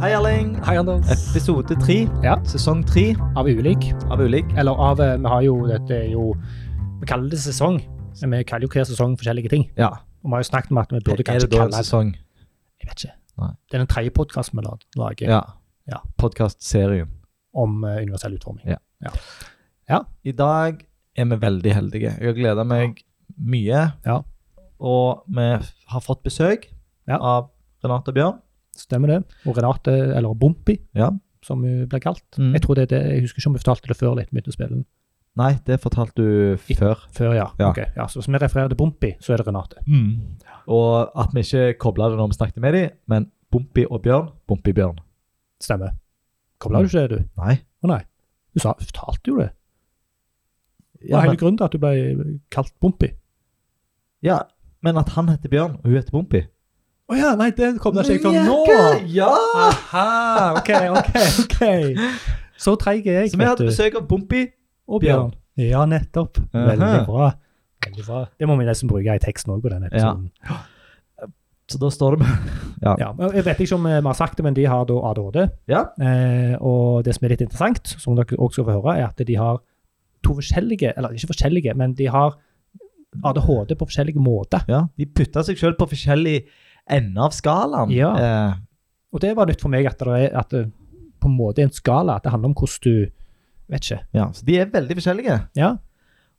Hei, Erling. Hei, Anders. Episode tre, Ja. sesong tre Av ulik. av Ulik. Eller av eh, Vi har jo dette er jo Vi kaller det sesong. Men vi kaller jo hver sesong forskjellige ting. Ja. Og vi har jo snakket om at vi burde Er kanskje det da kalle en det sesong? Jeg vet ikke. Nei. Det er den tredje podkasten vi la- lager Ja. Ja. Podcast-serien. om eh, universell utforming. Ja. I dag er vi veldig heldige. Jeg har gleda meg mye. Ja. Og vi har fått besøk Ja. av Renate Bjørn. Stemmer det. Og Renate, eller Bompi, Ja. som hun ble kalt. Mm. Jeg tror det er det, jeg husker ikke om vi fortalte det før litt begynte å spille den. Nei, det fortalte du før. Før, ja. Ja. Ok, ja så hvis vi refererer til Bompi, så er det Renate. Mm. Og at vi ikke kobla det når vi snakket med dem, men Bompi og Bjørn, Bompi-Bjørn. Stemmer. Kobla du ikke det, du? Nei. Å nei. Du sa, fortalte jo det. Det Ja var hele men, grunnen til at du ble kalt Bompi. ja, men at han heter Bjørn, og hun heter Bompi. Å ja, nei, det kom da ikke jeg fram Mjauke, nå! Ja! Aha, ok, ok, ok. Så treig er jeg, Så vi hadde besøk av Bompi. Og Bjørn. Ja, nettopp. Veldig Aha. bra. Veldig bra. Det må vi nesten bruke i teksten òg på denne episoden. Så da står det med Ja. og Jeg vet ikke om eh, vi har sagt det, men de har da ADHD. Ja. Eh, og det som er litt interessant, som dere også skal få høre, er at de har to forskjellige Eller ikke forskjellige, men de har ADHD på forskjellige måter. ja. De putta seg sjøl på forskjellig ende av skalaen. Ja. Eh, Og det var nytt for meg at det, er, at det på en måte er en skala. At det handler om hvordan du Vet ikke. ja. Så de er veldig forskjellige. Ja,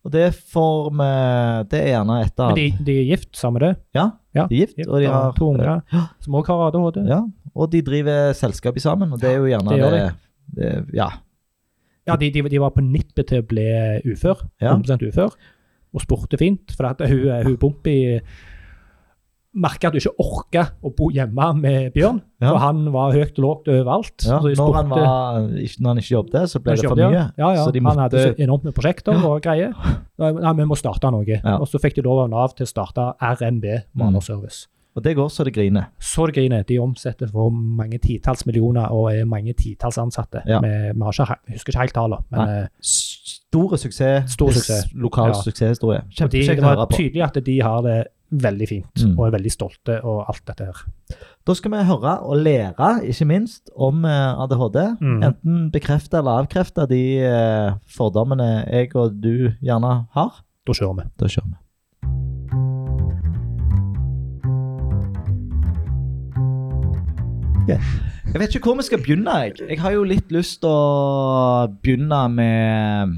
Og det får vi Det er gjerne etter Men de, de er gift, sammen med det. Ja. Ja. De er gift, og de har to unger som også har ADHD. Ja. Og de driver selskap i sammen, og det er jo gjerne Det det, gjør det, Ja. Ja, de, de, de var på nippet til å bli ufør. Ja. 100 ufør. Og spurte fint, for at hun, hun Bompi merka at hun ikke orka å bo hjemme med Bjørn. Ja. For han var høyt og lågt overalt. ja. så de Når, han spurte- var, ikke- når han ikke jobbet, så ble det kjørte for de, mye. Ja, ja. Så de Han hadde måtte så enormt med prosjekter og greier. Nei, vi må starte noe. Ja. Mm. Og så fikk de lov av Nav til å starte RMB Manerservice. Og det går så det griner. Så det griner. De omsetter for mange titalls millioner og er mange titalls ansatte. Ja. Vi, vi har ikke, he- husker ikke helt tallene, men eh, Store suksess. Stor suksess. Lokal Ja. suksesshistorie. og de, Kjempekjekt å det var høre på. tydelig at de har det veldig fint Mm. og er veldig stolte og alt dette her. Da skal vi høre og lære, ikke minst, om eh, ADHD. Mhm. Enten bekrefte eller avkrefte de eh, fordommene jeg og du gjerne har. Da kjører vi. Da kjører vi. Jeg vet ikke hvor vi skal begynne. Jeg Jeg har jo litt lyst til å begynne med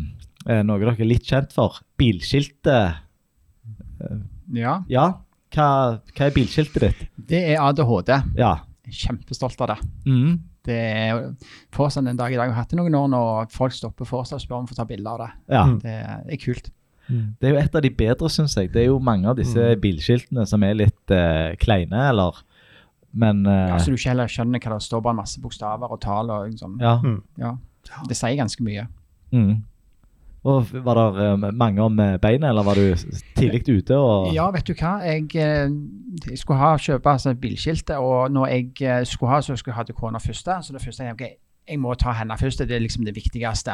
eh, noe dere er litt kjent for. Bilskiltet. Ja, Ja, hva, hva er bilskiltet ditt? det er ADHD. Ja. Kjempestolt av det. Det er fortsatt den dag i dag. Jeg har hatt det noen år når folk stopper fortsatt og spør om å få ta bilder av det. ja. Mm. Det er, det er kult. Det er jo et av de bedre, syns jeg. Det er jo mange av disse Mm. bilskiltene som er litt eh, kleine, eller Men eh, Ja, så Altså, du ikke heller skjønner hva det står bare en masse bokstaver og tall og sånn. ja. Mm. Ja. Det sier ganske mye. Mm. Og var det eh, mange om eh, beinet, eller var du s- tidlig ute og Ja, vet du hva? Jeg, eh, jeg skulle ha kjøpe altså, et bilskilte, og når jeg eh, skulle ha, så skulle jeg ha til kona første. Så det første jeg ok, jeg må ta henne først, det er liksom det viktigste.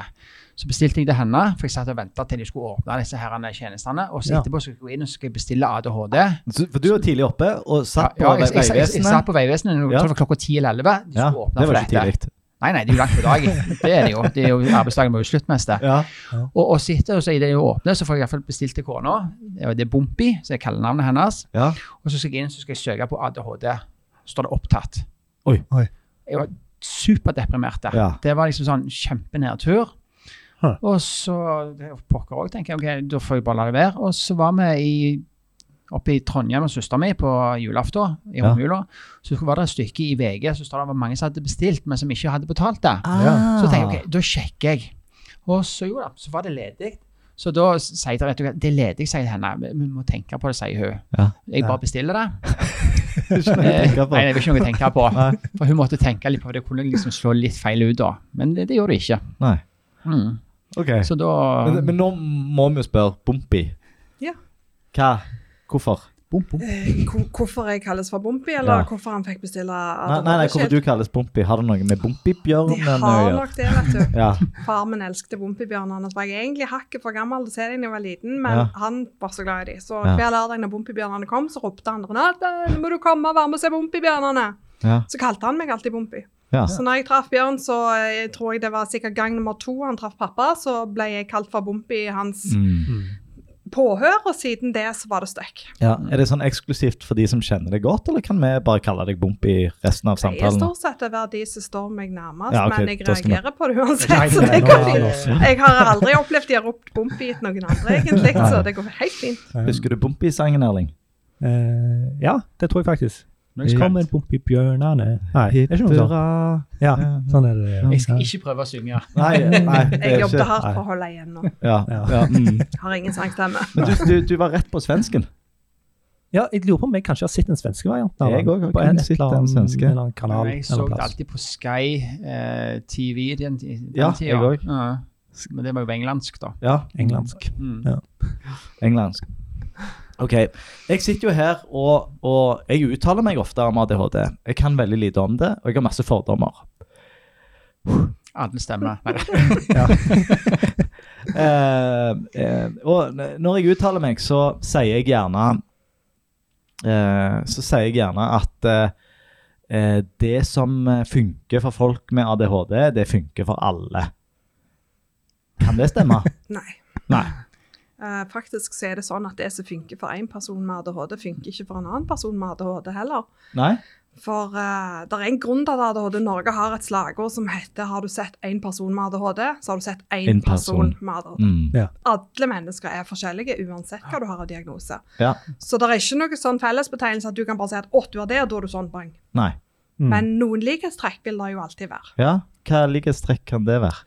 Så bestilte jeg det henne, for jeg satt og ventet til de skulle åpne disse herrene tjenestene. Og så Ja. etterpå skal jeg gå inn og så skal jeg bestille Ah, ADHD. Så- For du var tidlig oppe og satt på Ja, ja, jeg, jeg, jeg, jeg satt Vegvesenet. på Vegvesenet jeg Ja. tror det var klokka 10 eller 11. De Ja, skulle åpne det var for ikke dette. tidlig. Nei, nei, det er jo langt på dagen. Det er det jo. Det er jo Arbeidsdagen må jo slutte mest. det. Ja. Og, og sitter og så i det jo åpne, så får jeg iallfall bestilt til kona. Det er jo- det er Bompi, så jeg kaller navnet hennes. Ja. Og så skal jeg inn så skal jeg søke på ADHD. Står det opptatt. Oi. Oi. Jeg var superdeprimert. der. Ja. Det var liksom sånn kjempenedtur. Huh. Og så det er jo Pokker òg, tenker jeg. ok, Da får jeg bare la det være. Og så var vi i, oppe i Trondheim med søsteren min på julaften. I Ja. romjula. Så var det et stykke i VG så står det at det var mange som hadde bestilt, men som ikke hadde betalt det. Ah. Så tenker jeg, ok, da sjekker jeg. Og så jo da, så var det ledig. Så da s- sier jeg, vet du hva, det er ledig, sier henne. Vi vi må tenke på det, sier hun. Ja. Jeg bare bestiller det. Det er ikke noe å Eh, tenke på. Nei, det er ikke noe å tenke på. Nei. For hun måtte tenke litt på det, kunne liksom slå litt feil ut da. Men det, det gjorde det ikke. Nei. Mm. Ok. Så da, Men, men nå må vi jo spørre Bompi. Ja. Hva? Hvorfor? bom, bom. Hvor- Eh, Hvorfor jeg kalles for Bompi, eller Ja. hvorfor han fikk bestille Nei, nei, nei, hvorfor du kalles Bompi? Har det noe med De Bompibjørnen å har gjøre? nok det, vet du. Ja. Far min elsket Bompibjørnene. så var Jeg egentlig hakket for gammel til å se dem da jeg var liten, men Ja. han var så glad i dem. Så Ja. hver lørdag når Bompibjørnene kom, så ropte han Renate, nå må du komme og være med og se Bompibjørnene. Ja. Så kalte han meg alltid Bompi. Ja. Så når jeg traff Bjørn, så eh, tror jeg det var sikkert gang nummer to han traff pappa, så ble jeg kalt for Bompi i hans Mm. påhør, og siden det så var det støkk. ja. Er det sånn eksklusivt for de som kjenner deg godt, eller kan vi bare kalle deg Bump i resten av Jeg er samtalen? stort sett over de som står meg nærmest, Ja, ok, men jeg da skal vi- reagerer på det uansett. Nei, så nei, det nå går er altså- han fint. også. Jeg har aldri opplevd de har ropt Bompi til noen andre, egentlig, så det går helt fint. Husker du Bump i sangen, Erling? Eh, ja, det tror jeg faktisk. Ja. Kommer bump i bjørnene Nei, det er ikke noe sånt. Hurra. Ja, sånn er det. Jeg skal ikke prøve å synge. Nei, nei, det Jeg er jobbet ikke hardt for å holde igjen nå. ja, Ja. ja, mm. Har ingen sangstemme. Men du, du, du var rett på svensken. Ja, jeg lurer på om jeg kanskje har sett den svenske varianten. av Jeg den. òg har På kun en- et sett eller den annet- svenske. En eller annen kanal. Jeg en så eller annen det plass. alltid på Sky eh, TV den, den Ja, jeg tida. også. Ja. Men det var jo engelsk, da. Ja, Engelsk. Mm. Englandsk. Ok, Jeg sitter jo her og, og jeg uttaler meg ofte om ADHD. Jeg kan veldig lite om det, og jeg har masse fordommer. Alle stemmer. Nei, Eh, eh, og n- når jeg uttaler meg, så sier jeg gjerne eh, Så sier jeg gjerne at eh, eh, det som eh, funker for folk med ADHD, det funker for alle. Kan det stemme? Nei. Nei. Eh, faktisk så er det sånn at det som funker for én person med ADHD, funker ikke for en annen person med ADHD heller. Nei? For eh, det er en grunn til at ADHD Norge har et slagord som heter 'Har du sett én person med ADHD, så har du sett én En person person. med ADHD'. Mm. Alle mennesker er forskjellige, uansett hva du har av diagnose. Ja. Så det er ikke noe sånn fellesbetegnelse at du kan bare si at 'å, du har det', og da er du sånn, bang. Nei. Mm. Men noen likhetstrekk vil det jo alltid være. Ja, hva likhetstrekk kan det være?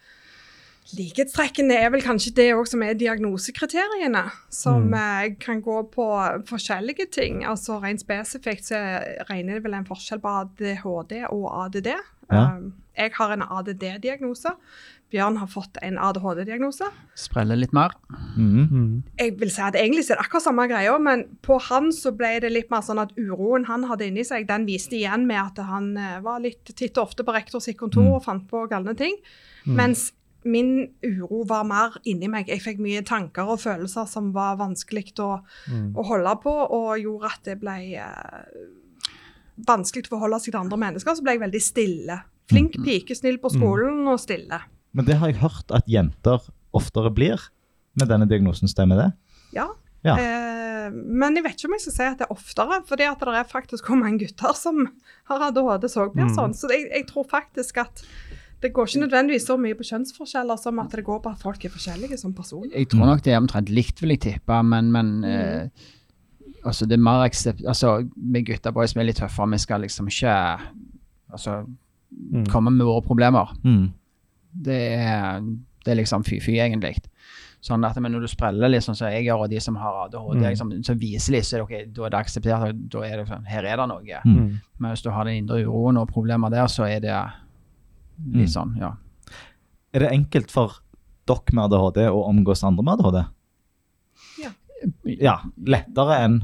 Likhetstrekkene er vel kanskje det også som er diagnosekriteriene, som eh, kan gå på forskjellige ting. Altså Rent spesifikt så regner det vel en forskjell på ADHD og ADD. Ja. Um, jeg har en ADD-diagnose. Bjørn har fått en ADHD-diagnose. Sprelle litt mer. Mm. Mm. Jeg vil si at Egentlig så er det akkurat samme greia, men på han så ble det litt mer sånn at uroen han hadde inni seg, den viste igjen med at han eh, var litt titt og ofte på rektor sitt kontor Mm. og fant på galne ting. Mm. Mens min uro var mer inni meg. Jeg fikk mye tanker og følelser som var vanskelig å, Mm. å holde på, og gjorde at det ble eh, vanskelig å forholde seg til andre mennesker. Så ble jeg veldig stille. Flink pike, snill på skolen og stille. Men det har jeg hørt at jenter oftere blir med denne diagnosen, stemmer det? Ja. Ja. Eh, men jeg vet ikke om jeg skal si at det er oftere, fordi at det er faktisk hvor mange gutter som har ADHD sårbarhetsånd. sånn. Så jeg, jeg tror faktisk at det går ikke nødvendigvis så mye på kjønnsforskjeller som at det går på at folk er forskjellige som personer. Jeg tror nok det er omtrent likt, vil jeg tippe, men, men Mm. eh, altså, det er mer aksept... Altså, vi gutter boys vi er litt tøffere, vi skal liksom ikke altså, Mm. komme med våre problemer. Mm. Det er, det er liksom fy-fy, egentlig. Sånn at men når du spreller, liksom, så jeg gjør, og de som har ADHD, Mm. liksom, så viselig, så er det, ok, da er det akseptert. og Da er det sånn, her er det noe. Mm. Mm. Men hvis du har den indre uroen og problemer der, så er det Mm. litt sånn, ja. Er det enkelt for dere med ADHD å omgås andre med ADHD? Ja. Ja, lettere enn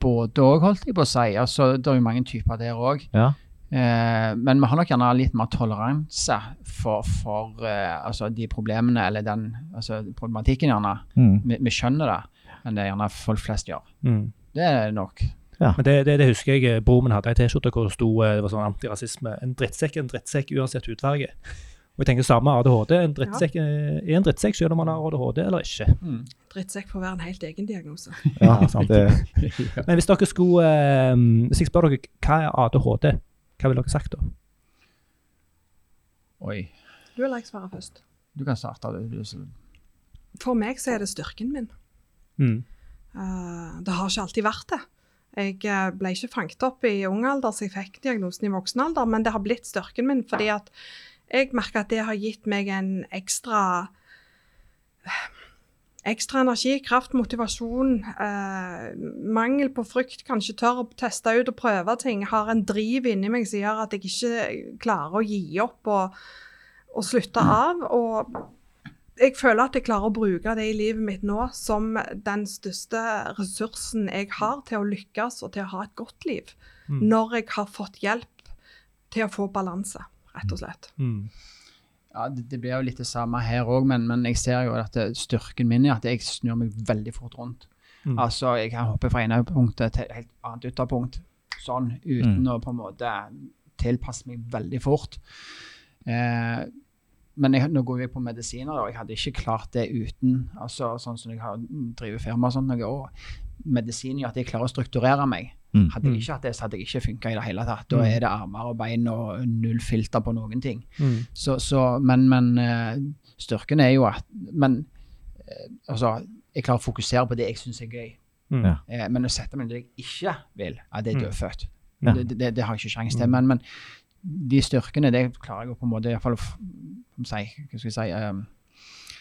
Både òg, holdt jeg på å si. Altså, det er jo mange typer der òg. ja. Eh, men vi har nok gjerne litt mer toleranse for, for eh, altså de problemene eller den altså problematikken, gjerne. Mm. Vi, vi skjønner det, enn det gjerne folk flest gjør. Mm. Det er nok. Men det, det, det husker jeg eh, broren min hadde ei T-skjorte hvor det sto eh, det var sånn antirasisme. En drittsekk er en drittsekk uansett hudfarge. Og jeg tenker samme ADHD. En drittsekk eh, er en drittsekk selv om man har ADHD eller ikke. Mm. Drittsekk får være en helt egen diagnose. ja sant. det, Men hvis dere skulle eh, Hvis jeg spør dere hva er ADHD, hva ville dere sagt da? Oi. Du vil jeg svare først. Du kan starte. du- du- så- For meg så er det styrken min. Eh, det har ikke alltid vært det. Jeg eh, ble ikke fanget opp i ung alder, så jeg fikk diagnosen i voksen alder, men det har blitt styrken min, fordi at jeg merker at det har gitt meg en ekstra Ekstra energi, kraft, motivasjon, eh, mangel på frykt, kanskje tør å teste ut og prøve ting. Har en driv inni meg som gjør at jeg ikke klarer å gi opp og, og slutte av. Og jeg føler at jeg klarer å bruke det i livet mitt nå som den største ressursen jeg har til å lykkes og til å ha et godt liv. Mm. Når jeg har fått hjelp til å få balanse, rett og slett. Mm. Ja, det, det blir jo litt det samme her òg, men, men jeg ser jo at det, styrken min er at jeg snur meg veldig fort rundt. Mm. Altså, Mm. jeg kan hoppe fra ene punktet til et helt annet ytterpunkt. Sånn, uten å på en måte tilpasset meg veldig fort. Eh, men jeg, nå går jeg på medisiner, og jeg hadde ikke klart det uten. altså Sånn som jeg har driver firma og sånn. noe år. Medisin gjør at jeg klarer å strukturere meg. Mm. Hadde jeg ikke hatt det, så hadde jeg ikke funka i det hele tatt. Da er det armer og bein og null filter på noen ting. Mm. Så, så, men, men eh, styrken er jo at Men eh, altså, jeg klarer å fokusere på det jeg syns er gøy. Mm. Ja. Eh, men å sette meg i det jeg ikke vil, ja, det er dødfødt. Ja. Det, det, det har jeg ikke Mm. sjanse til. Men, men de styrkene, det klarer jeg å på en måte i hvert fall å f- om si, Hva skal jeg si eh,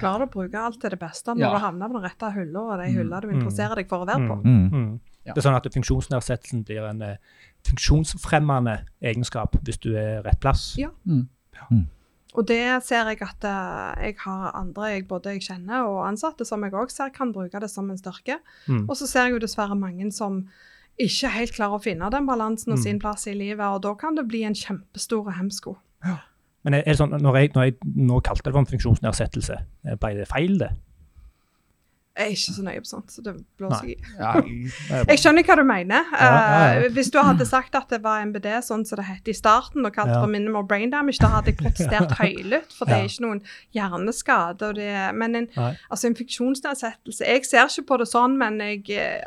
Klarer du å bruke alt til det beste når Ja. du havner på den rette hylla, og de hylla du Mm. interesserer deg for å være på? Mm. Mm. Mm. Ja. Det er sånn at funksjonsnedsettelsen blir en eh, funksjonsfremmende egenskap hvis du er rett plass. Ja. Mm. Og det ser jeg at eh, jeg har andre jeg både jeg kjenner og ansatte som jeg òg ser kan bruke det som en styrke. Mm. Og så ser jeg jo dessverre mange som ikke helt klarer å finne den balansen og Mm. sin plass i livet, og da kan det bli en kjempestor hemsko. Men er er det sånn, at når jeg, når jeg nå kalte det for en funksjonsnedsettelse, eh, ble det feil, det? Jeg er ikke så nøye på sånt, så det blåser jeg i. ja, Jeg skjønner hva du mener. Ja, ja, ja. Eh, hvis du hadde sagt at det var MBD, sånn som det het i starten, og kalt det Ja. for minimal brain damage, da hadde jeg protestert høylytt, for det Ja. er ikke noen hjerneskade. Og det, men en, Nei. altså en funksjonsnedsettelse Jeg ser ikke på det sånn, men jeg eh,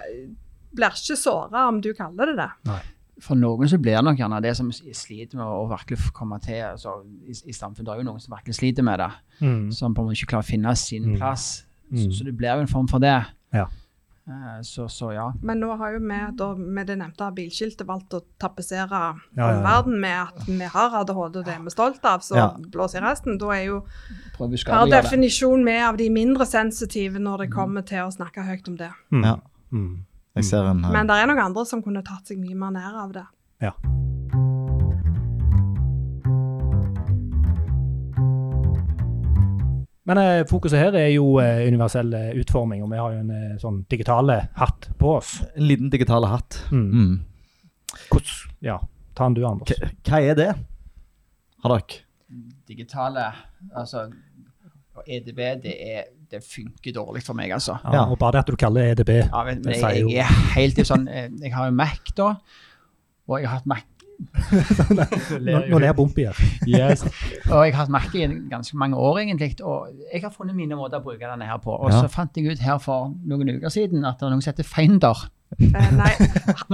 blir ikke såra om du kaller det det. for noen så blir det nok gjerne det som sliter med å virkelig få komme til altså, i, i samfunnet. Det er jo noen som virkelig sliter med det. Mm. Som på en måte ikke klarer å finne sin Mm. plass. Mm. Så, så det blir jo en form for det. Ja. Eh, så, så ja. Men nå har jo vi da, med det nevnte bilskiltet valgt å tapetsere Ja, ja, ja. omverdenen med at vi har ADHD, og det er vi stolt av, så Ja. blås i resten. Da er jo Prøv å per skadegjøre det. Mm. definisjon vi av de mindre sensitive når det kommer til å snakke høyt om det. Mm. Ja. Mm. Jeg ser en eh, her. Men det er noen andre som kunne tatt seg mye mer nær av det. Ja. Men eh, fokuset her er jo eh, universell eh, utforming, og vi har jo en eh, sånn digitale hatt på oss. En liten digital hatt. Mm. Mm. Hvordan, ja, ta den du, Anders. K hva er det? Har dere? Digitale Altså, og EDB, det, er, det funker dårlig for meg, altså. Ja, og bare det at du kaller E EDB. Ja, men, men Det sier jeg, jo- jeg er helt i sånn eh, Jeg har jo Mac, da. Og jeg har hatt Mac, Nå, nå ler Bompi her. og jeg har hatt Mac i ganske mange år, egentlig. Og jeg har funnet mine måter å bruke denne her på. Og Ja. så fant jeg ut her for noen uker siden at det er noen som heter Finder. Eh, nei,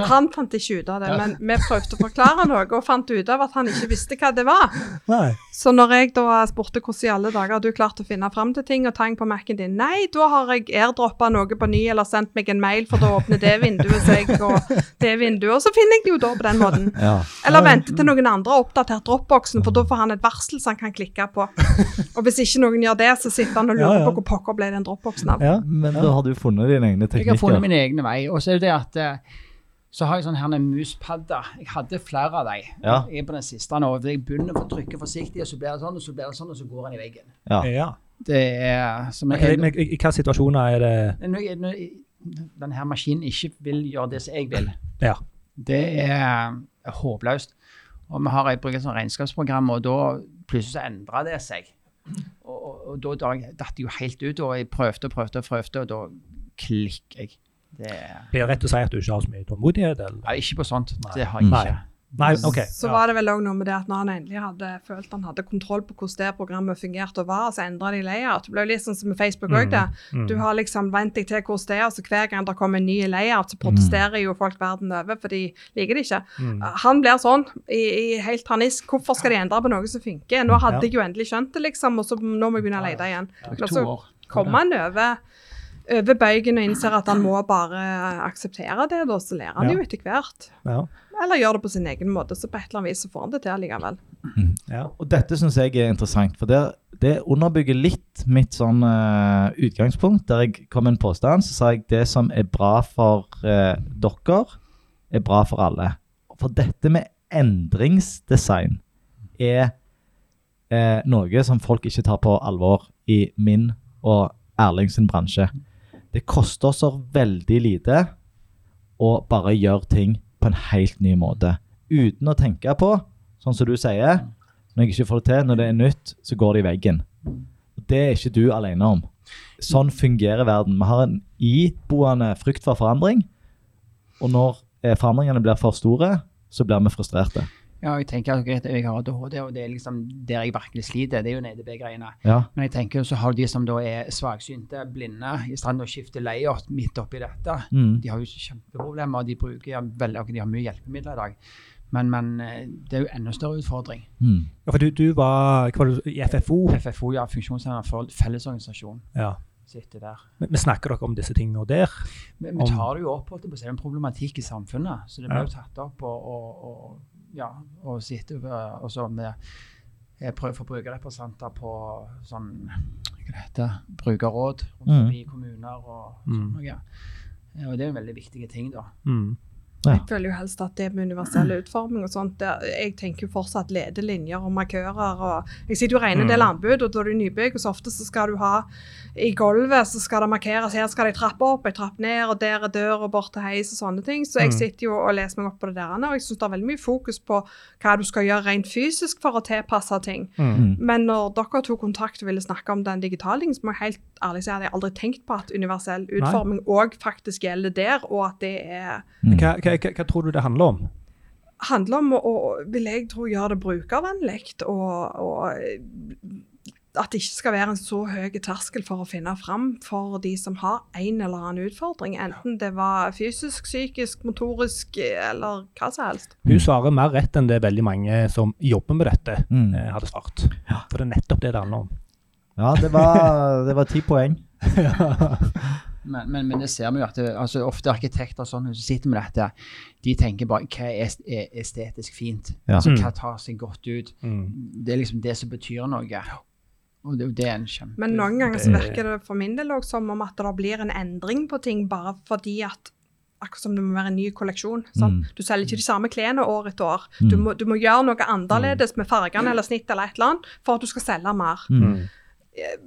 han fant ikke ut av det, men vi prøvde å forklare noe og fant ut av at han ikke visste hva det var. Nei. Så når jeg da spurte hvordan i alle dager har du klart å finne fram til ting og tang på Mac-en din, nei, da har jeg airdroppa noe på ny eller sendt meg en mail, for da åpner det vinduet seg og det vinduet, og så finner jeg det jo da på den måten. Ja. Eller vente til noen andre har oppdatert dropboxen, for da får han et varsel som han kan klikke på. Og hvis ikke noen gjør det, så sitter han og Ja, ja. lurer på hvor pokker ble den dropboxen av. Ja. Men da har du funnet dine egne Jeg har teknikker. funnet min egne vei. Og så er det det at eh, så har jeg sånne herne muspadder. Jeg hadde flere av dem. Ja. Jeg er på den siste nå. Jeg begynner å trykke forsiktig, og så blir det sånn, og så blir det sånn, og så går den i veggen. Ja. Ja. Det er som Men, jeg, men, i, I hvilke situasjoner er det når, jeg- når jeg- den her maskinen ikke vil gjøre det som jeg vil. Ja. Det er eh, håpløst. Og vi har jeg bruker et sånt regnskapsprogram, og da plutselig så endrer det seg. Og, og, og da da datt jeg jo helt ut, og jeg prøvde og prøvde og prøvde, og da klikker jeg. Det er Blir det rett å si at du ikke har så mye tålmodighet? Eller? Nei, ikke på sånt. Nei. Det har jeg Nei. ikke. Nei, OK. Så var det vel òg noe med det at når han endelig hadde følt han hadde kontroll på hvordan det programmet fungerte og var, så endra de layout. Det ble jo litt sånn som med Facebook òg, det. Mm. Du har liksom vent deg til hvordan det er, og så hver gang det kommer en ny layout, så protesterer jo folk verden over, for de liker det ikke. Mm. Han blir sånn, i, i helt harnisk. Hvorfor skal de endre på noe som funker? Nå Ja. hadde jeg jo endelig skjønt det, liksom, og så nå må jeg begynne å lete igjen. Det Men tok så to år. kommer han over, over bøygen og innser at han må bare akseptere det, da, så ler han Ja. jo etter hvert. Ja. Eller gjør det på sin egen måte, så på et eller annet vis så får han det til allikevel. Ja. Og dette syns jeg er interessant, for det, det underbygger litt mitt sånn eh, utgangspunkt. Der jeg kom med en påstand, så sa jeg det som er bra for eh, dere, er bra for alle. For dette med endringsdesign er eh, noe som folk ikke tar på alvor i min og Erling sin bransje. Det koster så veldig lite å bare gjøre ting på en helt ny måte. Uten å tenke på, sånn som du sier, når jeg ikke får det til, når det er nytt, så går det i veggen. Og Det er ikke du alene om. Sånn fungerer verden. Vi har en iboende frykt for forandring, og når eh, forandringene blir for store, så blir vi frustrerte. Ja, jeg tenker at greit, jeg har ADHD, og det er liksom der jeg virkelig sliter. Det er jo E NDB-greiene. Ja. Men jeg tenker så har du de som da er svaksynte, blinde, i stand til å skifte layout midt oppi dette. Mm. De har jo kjempeproblemer, og de bruker ja, veldig, og de har mye hjelpemidler i dag. Men, men eh, det er jo enda større utfordring. Mm. Ja, for du, du var, hva var du, i FFO. FFO, ja, Funksjonshemmedes for- Fellesorganisasjon, Ja. sitter der. Men, men snakker dere om disse tingene nå der? Vi, Om- vi tar det jo opp, holdt jeg på å si, det er en problematikk i samfunnet. Så det Ja. blir jo tatt opp og, og, og, ja, og sitter over og så med jeg prøver for brukerrepresentanter på sånn hva det heter, brukerråd rundt Mm. forbi kommuner og Mm. sånn noe. Ja, Og det er en veldig viktig ting, da. Mm. Ja. Jeg føler jo helst at det med universell utforming og sånt der, Jeg tenker jo fortsatt ledelinjer og markører og Jeg sitter jo og regner en del Mm. anbud, og da er det nybygg, og så ofte så skal du ha I gulvet så skal det markeres Her skal det ei trappe opp, ei trapp ned, og der er dør, og bort til heis og sånne ting. Så jeg Mm. sitter jo og leser meg opp på det der, og jeg syns det er veldig mye fokus på hva du skal gjøre rent fysisk for å tilpasse ting. Mm. Mm. Men når dere tok kontakt og ville snakke om den digitale ting, så må jeg helt ærlig si at jeg aldri tenkt på at universell utforming òg faktisk gjelder der, og at det er Mm. Hva, hva, hva, hva tror du det handler om? handler om å, å- vil jeg tro, gjøre det brukervennlig. Og, og at det ikke skal være en så høy terskel for å finne fram for de som har en eller annen utfordring. Enten det var fysisk, psykisk, motorisk eller hva som helst. Hun svarer mer rett enn det veldig mange som jobber med dette, Mm. eh, hadde svart. For det er nettopp det det handler om. Ja, det var, det var ti poeng. Men, men, men det ser vi jo at det, altså, ofte arkitekter og sånne som sitter med dette, de tenker bare hva er est- er estetisk fint? Ja. Altså, Mm. hva tar seg godt ut? Det er liksom det som betyr noe. Og det, det er en kjempe... Men noen ganger Det- så virker det for min del også som om at det blir en endring på ting bare fordi at Akkurat som det må være en ny kolleksjon. Sant? Mm. Du selger ikke de samme klærne år etter år. Mm. Du, må, du må gjøre noe annerledes med fargene eller snitt eller et eller annet for at du skal selge mer. Mm.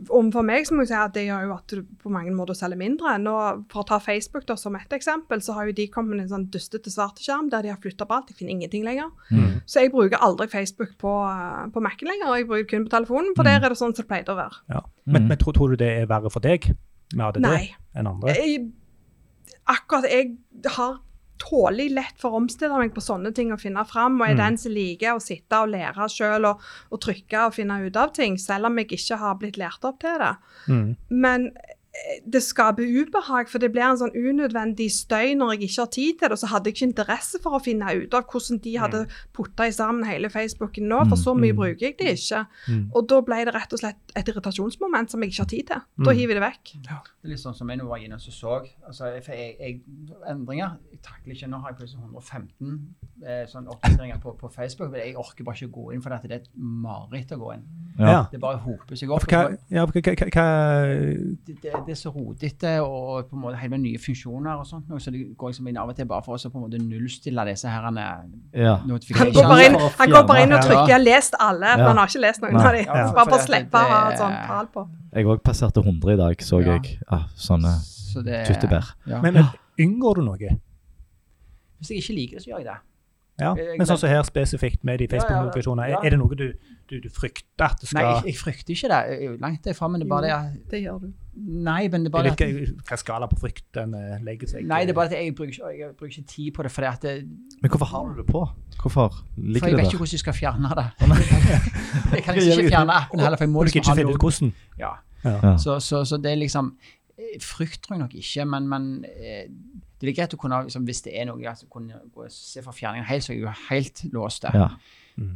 om for meg så må jeg si at det gjør jo at du på mange måter selger mindre. Nå, for å ta Facebook da, som et eksempel, så har jo de kommet med en sånn dustete svarteskjerm der de har flytta på alt. Jeg finner ingenting lenger. Mm. Så jeg bruker aldri Facebook på, eh, på Mac-en lenger. Jeg bruker kun på telefonen, for der er det sånn som det pleide å være. Ja. Mm. Men, men tror, tror du det er verre for deg med ADD Nei. enn Eh. andre? Jeg, akkurat jeg har tålig lett for å omstille meg på sånne ting og finne fram, og er Mm. den som liker å sitte og lære sjøl og, og trykke og finne ut av ting, selv om jeg ikke har blitt lært opp til det. Mm. Men eh, det skaper ubehag, for det blir en sånn unødvendig støy når jeg ikke har tid til det. Og så hadde jeg ikke interesse for å finne ut av hvordan de hadde putta i sammen hele Facebooken nå, for så mye Mm. bruker jeg det ikke. Mm. Og da ble det rett og slett et irritasjonsmoment som jeg ikke har tid til. Da Mm. hiver jeg det vekk. Det er litt sånn som jeg nå var inne og så. så. Altså, jeg, for jeg, jeg, endringer jeg takler ikke. Nå har jeg plutselig 115 eh, sånn oppdateringer på, på Facebook. Men jeg orker bare ikke å gå inn for dette. Det er et mareritt å gå inn. Ja. Ja. Det bare hoper seg Ja, opp. for hva, ja, for hva, hva, hva Det, det, det er så rotete og på en måte helt med nye funksjoner og sånt. noe, Så det går liksom inn av og til bare for oss å på en måte nullstille disse herrene Ja. Han går bare inn, han går bare inn og Ja. trykker 'jeg har lest alle', men han har ikke lest noen Nei. av dem. Ja. Bare for å Ja. slippe å ha et Det- sånt tall på. Jeg òg passerte 100 i dag, så Ja. jeg. Ah, sånne Så det- tyttebær. Ja. Men, men unngår du noe? Hvis jeg ikke liker det, så gjør jeg det. Ja. Jeg- Men sånn som her spesifikt med de Facebook-notifikasjoner, Eh, Ja, ja, ja. er, er det noe du, du, du frykter at det Nei, skal jeg, jeg frykter ikke det. Jeg er jo Langt derfra. Men det er bare det at Det gjør du. Nei, men det er Jeg bare vet det at ikke hva skala på frykt den eh, legger seg Nei, det er bare at jeg bruker ikke, jeg bruker ikke tid på det, fordi at det, Men hvorfor har du det på? Hvorfor for ligger jeg det vet der? ikke hvordan jeg skal fjerne det. Jeg kan liksom ikke fjerne appen heller, for jeg må Må du liksom ikke ha finne ut noe. hvordan? Ja. Ja. Så, så, så det er liksom eh, Frykt tror jeg nok ikke, men, men eh, det er greit å kunne, liksom, hvis det er noe, altså, kunne gå og se for fjerningen helt, så er jeg jo helt låst der. Ja.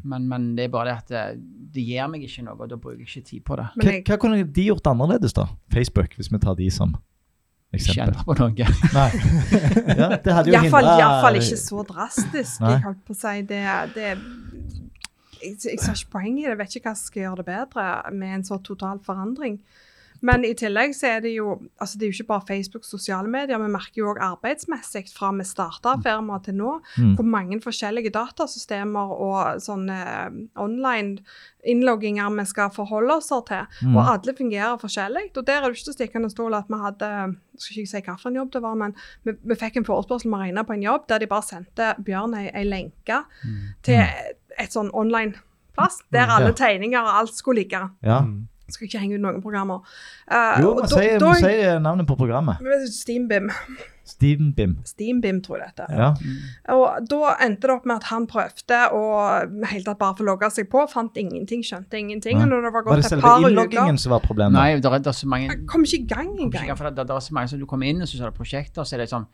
Men, men det er bare det at det, det gir meg ikke noe, og da bruker jeg ikke tid på det. Hva, Men jeg, hva kunne de gjort annerledes, da? Facebook, hvis vi tar de som Ikke eksempel. endre på noe. Nei. Ja, det hadde jo Iallfall hindret- iallfall ikke så drastisk. Nei. Jeg holdt på å si det, det jeg, jeg ser ikke poenget i det. Jeg vet ikke hva som skal gjøre det bedre med en så total forandring. Men i tillegg så er det jo altså det er jo ikke bare Facebook og sosiale medier. Vi merker jo òg arbeidsmessig fra vi starta firmaet til nå, Mm. hvor mange forskjellige datasystemer og sånne eh, online innlogginger vi skal forholde oss til. Mm. Og alle fungerer forskjellig. Og der er det ikke til å stikke under stol at vi hadde skal ikke si hvilken jobb det var, men vi, vi fikk en forespørsel om å regne på en jobb der de bare sendte Bjørn ei, ei lenke til et, et sånn online plass der Mm. alle Ja. tegninger og alt skulle ligge. Ja. Mm. Skal ikke henge ut noen programmer. Eh, Jo, og man da- sier, da- man sier eh, navnet på programmet. Steambim. Steambim. Steambim, tror jeg det heter. Ja. Og da endte det opp med at han prøvde å helt tatt bare få logge seg på. Fant ingenting, skjønte ingenting. Nei. Og når det var Var gått det et selve par uker innloggingen som var problemet? Nei, det er, det er så mange Jeg Kom ikke i gang Kom ikke i gang, engang. for det, det, det er så mange som du kommer inn, og så er det prosjekter, og så er det sånn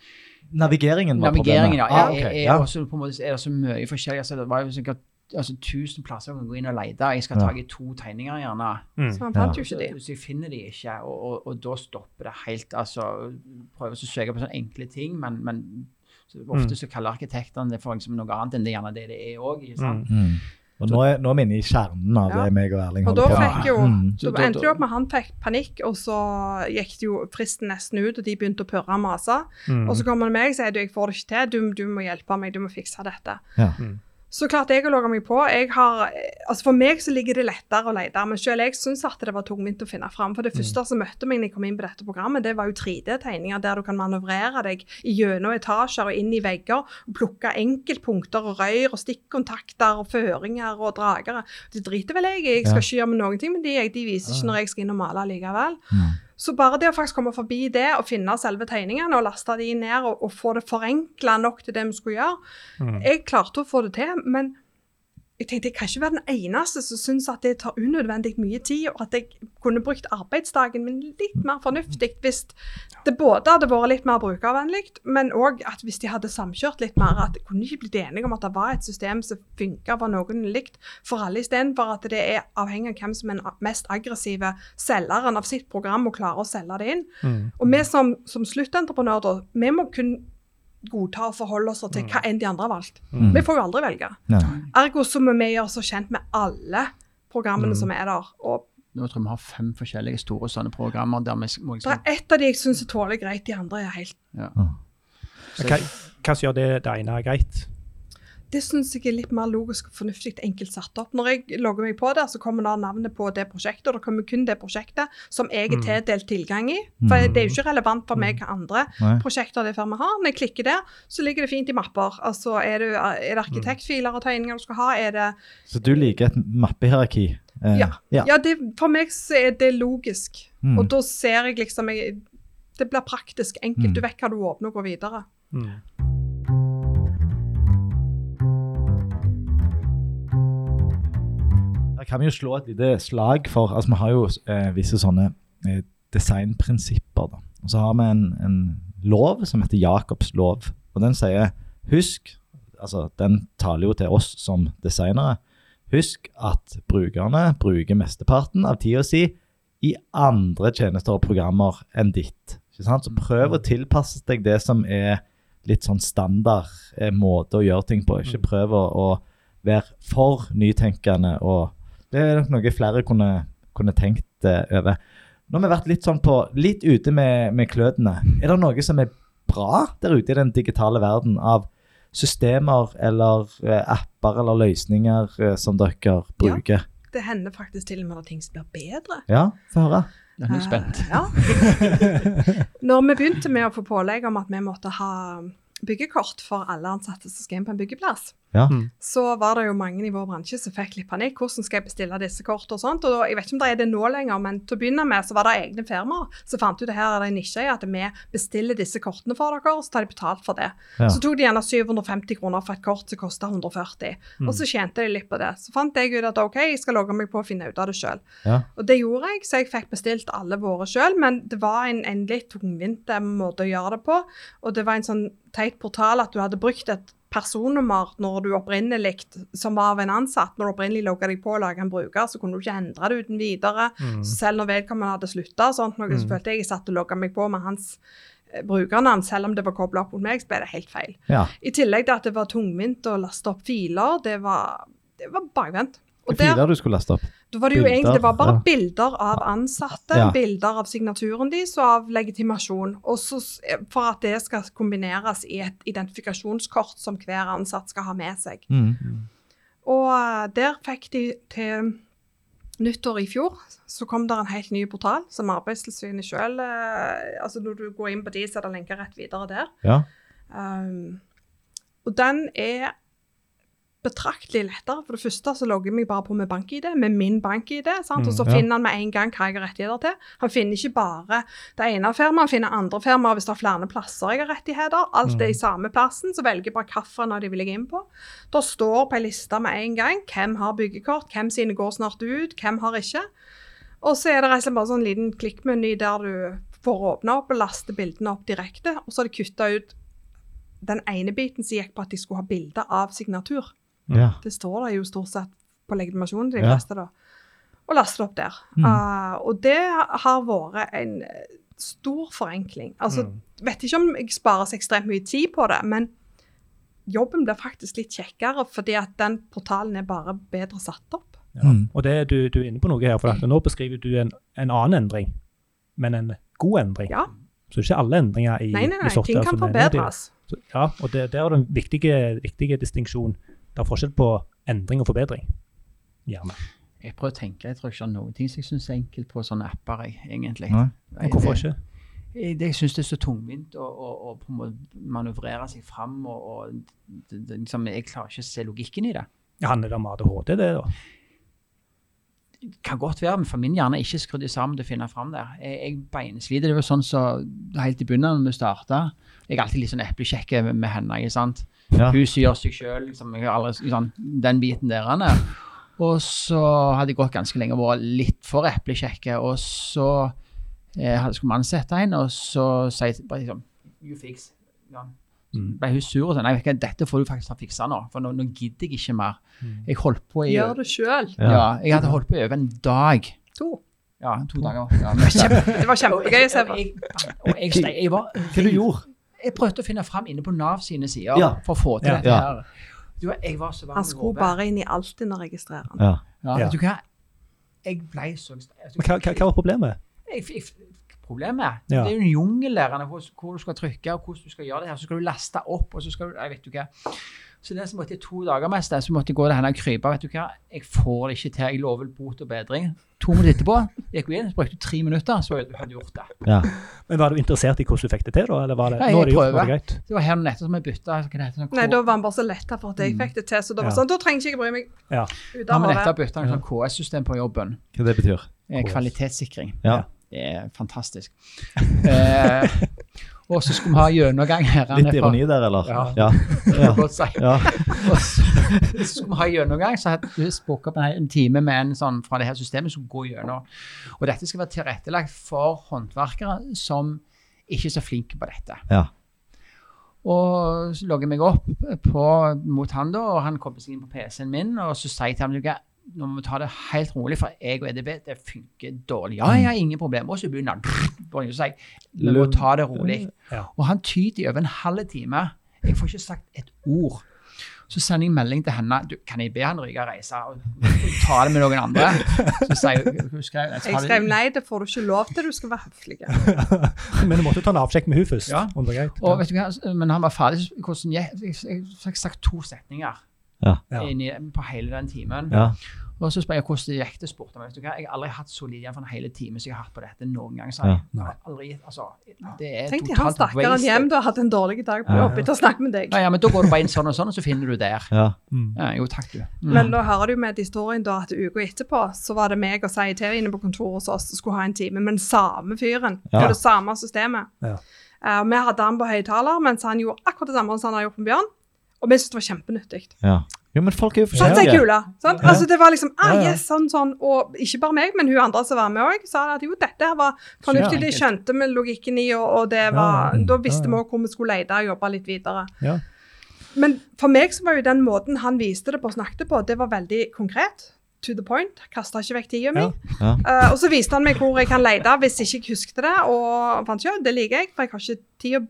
Navigeringen var Navigeringen, problemet? ja. Ah, Er, ok, er, er, ja. Også, på en måte, er det så mye forskjellig? Altså, det var jo sikkert altså, tusen plasser jeg kan gå inn og lete. Jeg skal Ja. ta i to tegninger, gjerne. Mm. Så han fant jo Så, ikke de. så jeg finner de ikke, og, og, og da stopper det helt. altså, Prøver å søke på sånne enkle ting, men, men så ofte Mm. så kaller arkitektene det for liksom noe annet enn det gjerne det det er òg. Mm. Og nå er, nå er vi inne i kjernen av Ja. det meg og Erling Og da holder på fikk med. jo Mm. Så det endte jo opp med at han fikk panikk, og så gikk det jo fristen nesten ut, og de begynte å purre og mase. Mm. Og så kommer han med meg og sier du, jeg får det ikke til, du, du må hjelpe meg, du må fikse dette. Ja. Mm. Så klart jeg å logge meg på. Jeg har, altså For meg så ligger det lettere å lete, men selv jeg syns at det var tungvint å finne fram. For det første som møtte meg når jeg kom inn på dette programmet, det var jo 3D-tegninger der du kan manøvrere deg gjennom etasjer og inn i vegger, og plukke enkeltpunkter og røyr og stikkontakter og føringer og dragere. Det driter vel jeg i, jeg skal Ja. ikke gjøre med noen ting, men de, de viser ikke når jeg skal inn og male likevel. Mm. Så bare det å faktisk komme forbi det og finne selve tegningene og laste de ned og, og få det forenkla nok til det vi skulle gjøre Mm. Jeg klarte å få det til, men jeg tenkte jeg kan ikke være den eneste som syns at det tar unødvendig mye tid, og at jeg kunne brukt arbeidsdagen min litt mer fornuftig hvis det både hadde vært litt mer brukervennlig, men òg at hvis de hadde samkjørt litt mer, at kunne ikke blitt enige om at det var et system som funka, var noen likt for alle, istedenfor at det er avhengig av hvem som er den mest aggressive selgeren av sitt program og klarer å selge det inn. Mm. Og vi som, som sluttentreprenør, da, vi må kun godta og forholde oss til hva enn de andre har valgt. Mm. Vi får jo aldri velge. Ja. Ergo så må vi gjøre oss kjent med alle programmene som er der. Og Mm. Nå tror jeg vi har fem forskjellige store sånne programmer der vi s- må det liksom er ett av de jeg syns er tålelig greit, de andre er helt Hva hva som gjør det det ene er greit? Det syns jeg er litt mer logisk og fornuftig enkelt satt opp. Når jeg logger meg på der, så kommer da navnet på det prosjektet, og det kommer kun det prosjektet som jeg er tildelt tilgang i. For det er jo ikke relevant for meg hva andre Nei. prosjekter det firmaet har. Når jeg klikker der, så ligger det fint i mapper. Altså, er det, er det arkitektfiler og tegninger du skal ha? Er det Så du liker et mappehierarki? Eh, Ja. ja. Ja, det, for meg så er det logisk. Mm. Og da ser jeg liksom jeg, Det blir praktisk, enkelt. Mm. Du vet hva du åpner og går videre. Mm. Her kan vi jo slå et lite slag for Altså, vi har jo eh, visse sånne eh, designprinsipper, da. Og så har vi en, en lov som heter Jacobs lov, og den sier Husk Altså, den taler jo til oss som designere. Husk at brukerne bruker mesteparten av tida si i andre tjenester og programmer enn ditt. Ikke sant? Så prøv Mm. å tilpasse deg det som er litt sånn standard eh, måte å gjøre ting på. Mm. Ikke prøv å, å være for nytenkende og det er nok noe flere kunne, kunne tenkt eh, over. Nå har vi vært litt, sånn på, litt ute med, med klødene. Er det noe som er bra der ute i den digitale verden av systemer eller eh, apper eller løsninger eh, som dere bruker? Det hender faktisk til og med at ting blir bedre. Ja, få høre. Nå er jeg spent. Eh, Ja. Når vi begynte med å få pålegg om at vi måtte ha byggekort for alle ansatte som skal inn på en byggeplass, Ja. Mm. så var det jo mange i vår bransje som fikk litt panikk. Hvordan skal jeg bestille disse kortene og sånt? Og da, jeg vet ikke om det er det nå lenger, men til å begynne med så var det egne firmaer som fant ut det her er det en nisje i at vi bestiller disse kortene for dere, og så tar de betalt for det. Ja. Så tok de gjerne 750 kroner for et kort som kosta 140, og Mm. så tjente de litt på det. Så fant jeg ut at OK, jeg skal logge meg på og finne ut av det sjøl. Ja. Og det gjorde jeg, så jeg fikk bestilt alle våre sjøl, men det var en, en litt tungvint eh, måte å gjøre det på. Og det var en sånn teit portal at du hadde brukt et personnummer når du opprinnelig, som var av en ansatt, når du opprinnelig logga deg på og laga en bruker, så kunne du ikke endre det uten videre. Mm. Så selv når vedkommende hadde slutta, sånt noe, så følte jeg jeg satt og logga meg på med hans eh, brukernavn, selv om det var kobla opp mot meg, så ble det helt feil. Ja. I tillegg til at det var tungvint å laste opp filer, det var, det var bakvendt. Og der- Filer du skulle laste opp. da var det jo Bilder, egentlig det var bare ja. bilder av ansatte, Ja. bilder av signaturen deres og av legitimasjon. Og så s- eh, For at det skal kombineres i et identifikasjonskort som hver ansatt skal ha med seg. Mm. Og eh, der fikk de til nyttår i fjor, så kom det en helt ny portal som Arbeidstilsynet sjøl altså Når du går inn på de, så er det Ehm, lenker rett videre der. Ja. Um, og den er betraktelig lettere. For det første så logger jeg meg bare på med bank-ID, med min bank-ID. sant? Og så Mm, ja. finner han med en gang hva jeg har rettigheter til. Han finner ikke bare det ene firmaet, han finner andre firmaer hvis det er flere plasser jeg har rettigheter. Alt er i samme plassen, så velger jeg bare hvilken av de vil jeg inn på. Det står på ei liste med en gang hvem har byggekort, hvem sine går snart ut, hvem har ikke. Og så er det rett og slett bare sånn liten klikkmeny der du får åpna opp og laste bildene opp direkte. Og så har de kutta ut den ene biten som gikk på at de skulle ha bilde av signatur. Ja. Det står det jo stort sett på legitimasjonen til de Ja. fleste, da. Og laste det opp der. Mm. Eh, og det har vært en eh, stor forenkling. Altså, Mm. Vet ikke om jeg sparer så ekstremt mye tid på det, men jobben blir faktisk litt kjekkere fordi at den portalen er bare bedre satt opp. Ja. Mm. Og det, du, du er inne på noe her, for Mm. at nå beskriver du en, en annen endring, men en god endring. Ja. Så det er ikke alle endringer i, Nei, nei, i nei, software ting kan som er negative. forbedres. Så, ja, og det, der er det en viktig, viktig distinksjon. Det er forskjell på endring og forbedring. Gjerne. Jeg prøver å tenke, jeg tror ikke det er noen ting som jeg syns er enkelt på sånne apper, jeg, egentlig. Nei. Og hvorfor Det- ikke? Jeg, det- jeg syns det er så tungvint å, å, å på en måte manøvrere seg fram, og, og det, det, liksom, jeg klarer ikke å se logikken i det. Handler det om ADHD, det, da? kan godt være, men for min hjerne er ikke skrudd sammen til å finne fram der. Jeg, jeg beinsliter. Det var sånn så helt i bunnen når vi starta. Jeg er alltid litt sånn eplekjekke med, med henne. ikke sant? Ja. Hun syr seg sjøl. Liksom, jeg har aldri- sånn, den biten der. Anne. Og så hadde jeg gått ganske lenge og vært litt for eplekjekke. Og så eh, hadde- skulle man sette en, og så sier jeg bare liksom You fix. Ja. Mm. Ble hun sur og sånn? Nei, vet du hva, dette får du faktisk fikse nå, for nå, nå gidder jeg ikke mer. Mm. Jeg holdt på i Gjør det sjøl. Ja. ja, jeg hadde holdt på i over en dag. To. Ja, to dager. Ja, men kjempe- Det var kjempegøy å se på. Og jeg- og jeg steg- jeg var- Hva du gjorde Jeg prøvde å finne fram inne på Nav sine sider Ja. for å få til Ja. dette Ja. her. Du, jeg var så varm Han i skulle hodet. bare inn i Altinn og registrere den. Ja. Ja, Ja. vet du hva? Jeg ble så altså, Men hva, hva, hva var problemet? jeg, jeg, problemet. Ja. Det er jo en jungel der Anne, hvor, hvor du skal trykke, og hvordan du skal gjøre det her. Så skal du laste opp, og så skal du Jeg vet ikke hva. Så det som måtte i to dager mest, det som måtte gå det henne og krype. Vet du hva, jeg får det ikke til. Jeg lover bot og bedring. To minutter etterpå gikk hun inn, så brukte hun tre minutter, så hadde hun gjort det. Ja. Men Var du interessert i hvordan du fikk det til, da? Eller var det, Nei, nå er det jeg gjort, nå er prøver. det greit? Det var her nettopp som jeg bytta. hva det heter, sånn Nei, K- da var han bare så letta for at jeg fikk det til, så da Mm. var Ja. sånn, da trenger ikke jeg bry meg. Ja. Ut Da av har vi det. nettopp bytta en sånn KS-system på jobben. Hva det betyr? Eh, KS. Kvalitetssikring. Ja. Det er fantastisk. eh, og så skulle vi ha gjennomgang her. Litt ironi der, eller? Ja. Ja. Ja. Ja. ja. Og så, så skulle vi ha gjennomgang, så hadde vi spooka opp en, en time med en sånn fra det her systemet som går gjennom. Og dette skal være tilrettelagt for håndverkere som ikke er så flinke på dette. Ja. Og så logger jeg meg opp på, mot han da, og han kommer seg inn på PC-en min, og så sier jeg til ham «Du, hva, nå må vi ta det helt rolig, for jeg og EDB det funker dårlig. Ja, jeg har ingen problemer. Og så begynner han brrr, så sier jeg, vi må ta det rolig. Ja. Og han tyter i over en halv time. Jeg får ikke sagt et ord. Så sender jeg melding til henne. Du, kan jeg be han ryke og reise og ta det med noen andre? Så sier hun, hun skrev, jeg, Jeg skrev nei, det får du ikke lov til, du skal være høflig. Men du måtte ta en avsjekk med hun først. Ja. Om det var greit. Og vet du hva, men han var ferdig, så hvordan jeg, jeg, jeg, fikk sagt to setninger Ja. Ja. inni, på hele den timen. Ja. Og så spør jeg hvordan det gikk, det spurte han. meg, Vet du hva, jeg har aldri hatt så lite igjen for en hel time som jeg har hatt på dette noen gang, sa Ja. jeg. Jeg har Aldri, altså, det er Tenk deg han totalt stakkaren wasted. hjem, du har hatt en dårlig dag på Ja. jobb etter å snakke med deg. Ja, ja, men da går du bare inn sånn og sånn, og så finner du der. Ja. Mm. Ja, jo, takk du. Mm. Men da hører du med til historien da at uka etterpå så var det meg og Sei til inne på kontoret hos oss som skulle ha en time med den samme fyren. Ja. Og det samme systemet. Ja. Eh, og vi hadde han på høyttaler, mens han gjorde akkurat det samme som han har gjort med Bjørn. Og vi syntes det var kjempenyttig. ja. Jo, men folk er jo Satt seg forskjellige. kula. sånn Sant? Ja. Altså, det var liksom ah, Ja, ja. yes, sånn, sånn. Og ikke bare meg, men hun andre som var med òg, sa at jo, dette her var fornuftig. De skjønte med logikken i, og, og det var, Ja, ja. da visste Ja, vi ja. òg hvor vi skulle lete og jobbe litt videre. Ja. Men for meg så var jo den måten han viste det på og snakket på, det var veldig konkret. To the point. Kasta ikke vekk tida mi. Ja. Ja. Eh, og så viste han meg hvor jeg kan lete hvis ikke jeg husket det. Og fant ikke, det liker jeg, for jeg har ikke tid å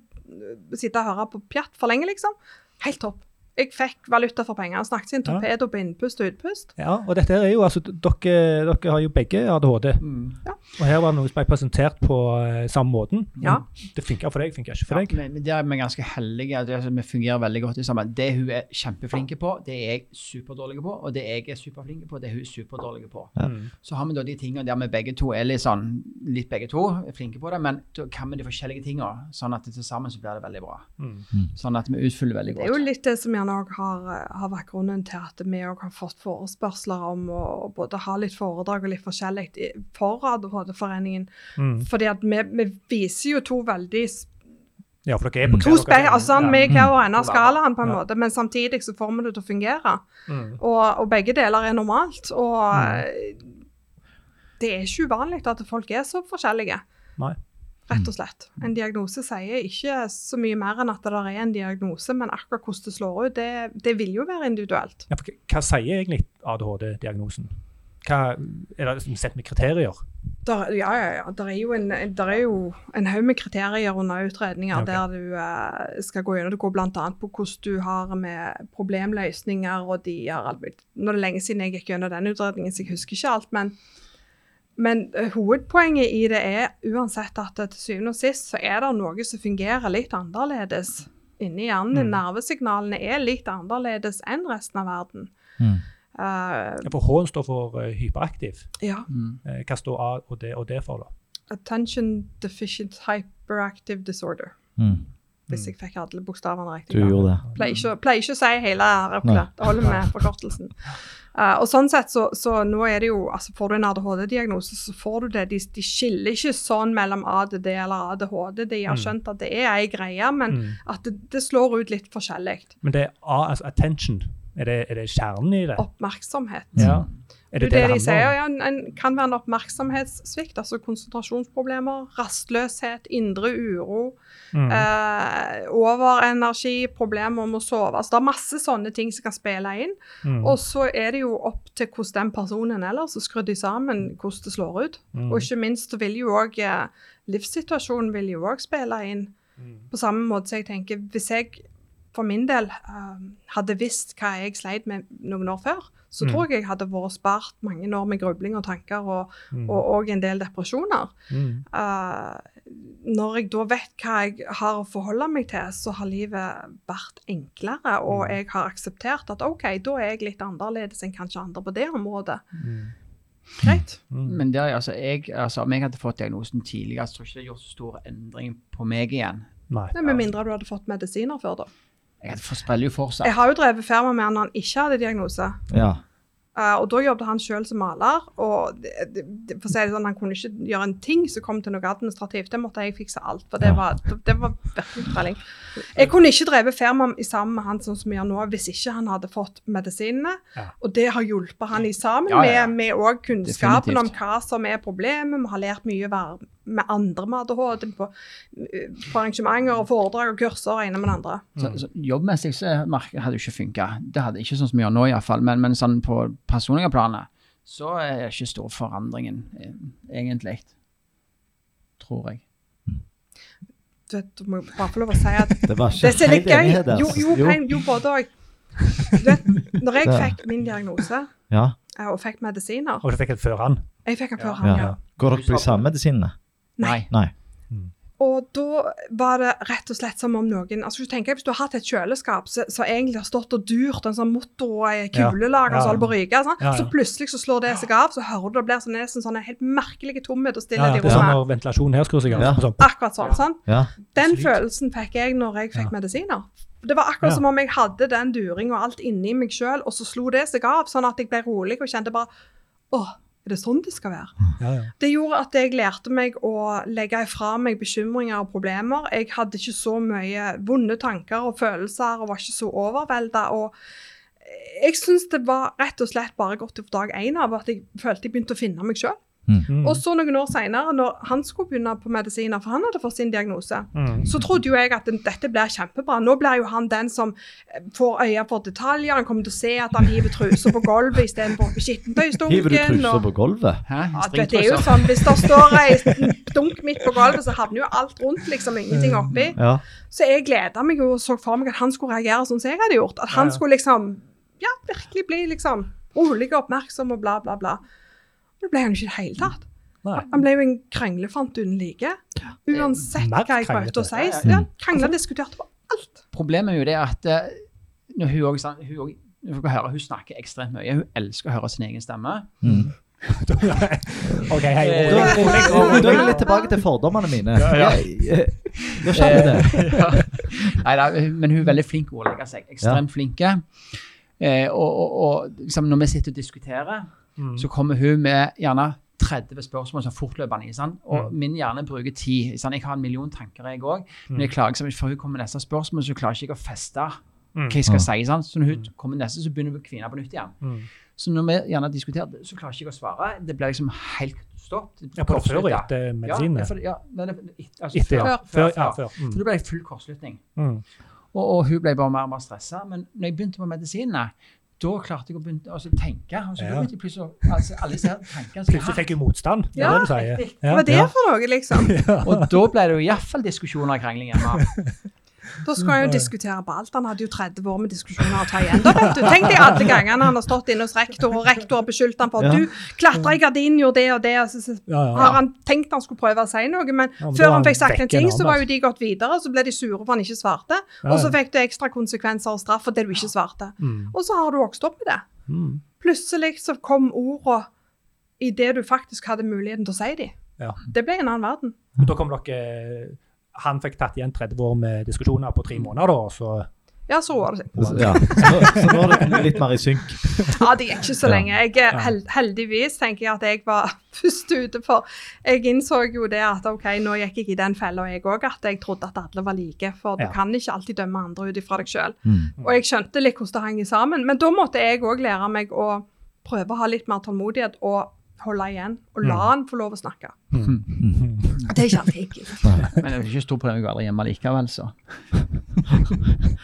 eh, sitte og høre på pjatt for lenge, liksom. Helt topp. Jeg fikk valuta for penger. Han snakket sin Ja. torpedo på innpust og utpust. Ja, og dette her er jo, altså, d- dere, dere har jo begge ADHD, Mm. og her var det noe som ble presentert på eh, samme måten. Men Ja. Det funka for deg, funka ikke for Ja, deg. men, men der er vi ganske heldige. Det, er altså, vi fungerer veldig godt i sammen. Det hun er kjempeflinke på, det er jeg superdårlig på. Og det jeg er superflinke på, det er hun superdårlig på. Mm. Så har vi da de tingene der vi begge to er litt sånn, litt begge to er flinke på det, men da kan vi de forskjellige tingene, sånn at til sammen så blir det veldig bra. Mm. Sånn at vi utfyller veldig Det er jo godt. litt det som gjerne han òg har, eh, har vært grunnen til at vi òg har fått forespørsler om å både ha litt foredrag og litt forskjellig i- for ADHD-foreningen. Mm. Fordi at vi, vi viser jo to veldig s- Ja, for dere er på To hver speil, dere- altså sånn, Vi er i hver og en av Ja. skalaen, på en Ja. måte, men samtidig så får vi det til å fungere. Mm. Og, og begge deler er normalt. Og Mm. det er ikke uvanlig at folk er så forskjellige. Nei. Rett og slett. En diagnose sier ikke så mye mer enn at det der er en diagnose, men akkurat hvordan det slår ut, det, det vil jo være individuelt. Ja, for hva- hva sier egentlig ADHD-diagnosen? Hva, er det liksom sett med kriterier? Der, ja, ja, ja. Der er jo en, der er jo en haug med kriterier under utredninger Ok. der du eh, skal gå gjennom. Det går bl.a. på hvordan du har med problemløsninger og de har alt mulig. Nå er det lenge siden jeg gikk gjennom den utredningen, så jeg husker ikke alt. Men, men eh, hovedpoenget i det er uansett at det til syvende og sist så er det noe som fungerer litt annerledes inni hjernen. din. Mm. Nervesignalene er litt annerledes enn resten av verden. Mm. Eh, Ja, For H-en står for eh, hyperaktiv. ja. Mm. Eh, Hva står A og D og D for, da? Attention Deficient Hyperactive Disorder. Mm. Hvis jeg fikk alle bokstavene Du riktig. da. gjorde det. Pleier ikke, pleier ikke å si hele Nei. røkla. Det holder med forkortelsen. Eh, og sånn sett, så, så nå er det jo, altså Får du en ADHD-diagnose, så får du det. De, de skiller ikke sånn mellom ADD eller ADHD. De har Mm. skjønt at det er ei greie, men Mm. at det, det slår ut litt forskjellig. Men det er A, altså attention. Er det, er det kjernen i det? Oppmerksomhet. Ja. Er Mm. Det det er jo det, handler de sier. om? Ja, en, en kan være en oppmerksomhetssvikt, altså konsentrasjonsproblemer, rastløshet, indre uro. Mm. Eh, overenergi, problemer med å sove. Altså, det er masse sånne ting som kan spille inn. Mm. Og så er det jo opp til hvordan den personen ellers er skrudd sammen, hvordan det slår ut. Mm. Og ikke minst så vil jo òg eh, livssituasjonen vil jo òg spille inn. Mm. På samme måte som jeg tenker, hvis jeg for min del eh, hadde visst hva jeg sleit med noen år før, så Mm. tror jeg jeg hadde vært spart mange år med grubling og tanker og Mm. og og en del depresjoner. Mm. Eh, når jeg da vet hva jeg har å forholde meg til, så har livet vært enklere. Og Mm. jeg har akseptert at OK, da er jeg litt annerledes enn kanskje andre på det området. Mm. Greit. Mm. Men der, altså, jeg, altså, om jeg hadde fått diagnosen tidligere, så tror jeg ikke det hadde gjort så stor endring på meg igjen. Nei. Nei, Med mindre du hadde fått medisiner før, da. Jeg hadde for- spiller jo fortsatt. Jeg har jo drevet firma med han når han ikke hadde diagnose. Ja. Eh, og da jobbet han sjøl som maler, og det, det, det, for å si det sånn, han kunne ikke gjøre en ting som kom til noe administrativt. Det måtte jeg fikse alt, for det Ja. var, det, det var virkelig trelling. Jeg kunne ikke drevet firma i sammen med han sånn som vi gjør nå, hvis ikke han hadde fått medisinene. Ja. Og det har hjulpet han i sammen Ja, ja, ja. med, med også kunnskapen Definitivt. om hva som er problemet. Vi har lært mye å være med andre med ADHD på, eh, på arrangementer og foredrag og kurser og ene med den andre. Så, så, jobbmessig så merker- hadde det jo ikke funka. Det hadde ikke sånn som vi gjør nå, iallfall. Men, men sånn på personlige planet så er det ikke stor forandringen, eh, egentlig. Tror jeg. Du vet, du må bare få lov å si at Det var Det ikke som er helt litt gøy enighet altså. der. Jo, jo, Pein, jo både òg. Du vet, når jeg Det- fikk min diagnose Ja. eh, og fikk medisiner Og så fikk jeg før han. Jeg fikk den før Ja. han, ja. Ja. Går dere på de samme medisinene? Nei. Nei. Og da var det rett og slett som om noen altså Hvis du tenker, hvis du har hatt et kjøleskap som som egentlig har stått og durt, en sånn motor og ei Ja. kulelager Ja. som holder på å ryke, sånn, Ja, ja. så plutselig så slår det seg av, så hører du det blir sånn, nesten sånn en helt merkelig tomhet og Ja, ja, stillhet det er i sånn rommet. når ventilasjonen her skrur seg av. Ja. sånn, Akkurat sånn. sånn. Ja. Den Absolutt. følelsen fikk jeg når jeg fikk Ja. medisiner. Det var akkurat Ja. som om jeg hadde den during og alt inni meg sjøl, og så slo det seg av, sånn at jeg ble rolig og kjente bare Å, er det sånn det skal være? Ja, ja. Det gjorde at jeg lærte meg å legge ifra meg bekymringer og problemer. Jeg hadde ikke så mye vonde tanker og følelser og var ikke så overvelda. Og jeg syns det var rett og slett bare godt fra dag én av at jeg følte jeg begynte å finne meg sjøl. Mm. Og så noen år seinere, når han skulle begynne på medisiner, for han hadde fått sin diagnose, Mm. så trodde jo jeg at den- dette blir kjempebra. Nå blir jo han den som eh, får øye for detaljer. Han kommer til å se at han hiver truser på gulvet istedenfor på skittentøysdunken. Hiver du truser og- på gulvet? Hæ? Ja, du vet, det er jo Stringtruser? sånn, Hvis det står ei dunk midt på gulvet, så havner jo alt rundt, liksom. Ingenting oppi. Ja. Så jeg gleda meg jo og så for meg at han skulle reagere sånn som jeg hadde gjort. At Ja, han ja. skulle liksom Ja, virkelig bli liksom rolig og oppmerksom og bla, bla, bla. Men det ble han jo ikke i det hele tatt. Nei. Han ble jo en kranglefant uten like. Uansett Mer hva jeg prøvde kranglete. Mm. å si. Ja, ja. Ja, krangla diskuterte på alt. Problemet er jo det at eh, når hun også, sa- hun også, når dere hører, hun snakker ekstremt mye. Hun elsker å høre sin egen stemme. Mm. OK, hei. Eh, Da rolig, rolig, rolig. da er vi litt tilbake til fordommene mine. Ja, ja. Jeg- jeg- Da skjedde det. Nei da, men hun er veldig flink til å ordlegge seg. Ekstremt flinke. Eh, og og, og liksom, når vi sitter og diskuterer, Mm. så kommer hun med gjerne 30 spørsmål som fortløpende. Ikke sant? Og Mm. min hjerne bruker 10. Ikke sant? Jeg har en million tanker, jeg òg. Men jeg klarer ikke, for hun kommer med neste spørsmål, så klarer ikke jeg å feste Mm. hva jeg skal Mm. si. Sant? Så når hun kommer med neste, så begynner hun å kvine på nytt igjen. Mm. Så når vi gjerne diskuterer, det, så klarer ikke jeg å svare. Det blir liksom helt stopp. Ja, på før og etter Ja, medisinene. for, ja, nei, nei, et- altså, Etter, ja. før, Før, ja, før. Så Mm. det ble jeg full kortslutning. Mm. Og, og hun ble bare mer og mer stressa. Men når jeg begynte på medisinene, da klarte jeg å begynne altså, tenke. Og så Ja. da begynte jeg plutselig å altså, analysere tankene. så- Plutselig fikk hun motstand. Det Ja, er det du sier. riktig. Ja, Hva er det ja. for noe, liksom? Og da ble det jo iallfall diskusjoner og krangling hjemme. Da skulle han jo diskutere på alt. Han hadde jo 30 år med diskusjoner å ta igjen. Da vet du, Tenk deg alle gangene han har stått inne hos rektor, og rektor har beskyldt han for Ja. at du klatra i gardinen, gjorde det og det. og så- så Ja, ja. har han tenkt han skulle prøve å si noe, men Ja, men da før han var fikk sagt han en vekk ting, en så annen var jo de gått videre, så ble de sure for han ikke svarte. Ja, Og så ja. fikk du ekstra konsekvenser og straff for det du ikke svarte. Mm. Og så har du vokst opp med det. Mm. Plutselig så kom orda i det du faktisk hadde muligheten til å si dem. Ja. Det ble en annen verden. Men Da kom dere Han fikk tatt igjen 30 år med diskusjoner på tre måneder, da. og Så, Ja, så roer det seg. Så, ja. så, nå, så nå er det kommet litt mer i synk. Ja, det gikk ikke så Ja. lenge. Jeg, er hel heldigvis tenker jeg at jeg var først ute for Jeg innså jo det at OK, nå gikk jeg i den fella, jeg òg, at jeg trodde at alle var like. For du Ja. kan ikke alltid dømme andre ut ifra deg sjøl. Mm. Og jeg skjønte litt hvordan det hang sammen. Men da måtte jeg òg lære meg å prøve å ha litt mer tålmodighet og holde igjen. Og la han få lov å snakke. Det er ikke alltid enkelt. Men det er jo ikke stor problem, jeg var aldri hjemme likevel, så. Jeg kan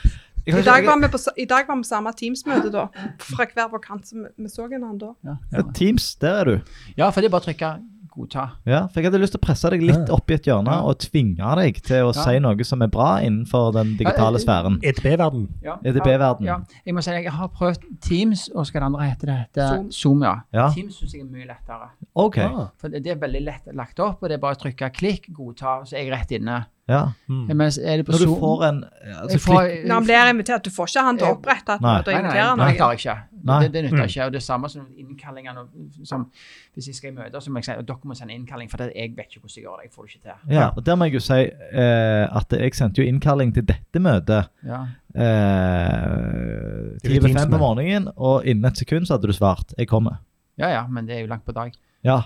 I ikke- dag var vi på, s- i dag var vi samme Teams-møte, da. Fra hver vår kant. Så vi, vi så en annen da. Ja, Ja, Teams, der er du. ja for det er bare å trykke 'godta'. Ja, for Jeg hadde lyst til å presse deg litt opp i et hjørne og tvinge deg til å Ja. eh, si noe som er bra innenfor den digitale sfæren. E EDB-verden. Ja. E EDB-verden. Ja. Jeg må si jeg har prøvd Teams, og skal det andre hete det? det er Zoom. Zoom, ja. Ja. Teams syns jeg er mye lettere. OK. Ah, For det det er veldig lett lagt opp, og det er bare å trykke 'klikk', 'godta', så er jeg rett inne. Ja. mm. Mens er det på Når du Zoom får en jeg altså, får- klikk, Når han blir invitert, du får ikke han til å opprette et Nei. møte og Eh, Nei, nei, invitere nei, det noen. klarer jeg ikke. Nei. Det, det nytter Mm. ikke. Og det samme som innkallingene. og- Som, hvis jeg skal i møter, så må jeg si at dere må sende innkalling, for det, jeg vet ikke hvordan jeg gjør det. Jeg får det ikke til. ja, og Der må jeg jo si eh, at jeg sendte jo innkalling til dette møtet Ja. eh, Det er jo ti over fem på Teams-møte. morgenen, og innen et sekund så hadde du svart 'jeg kommer'. ja, ja, men det er jo langt på dag. Ja.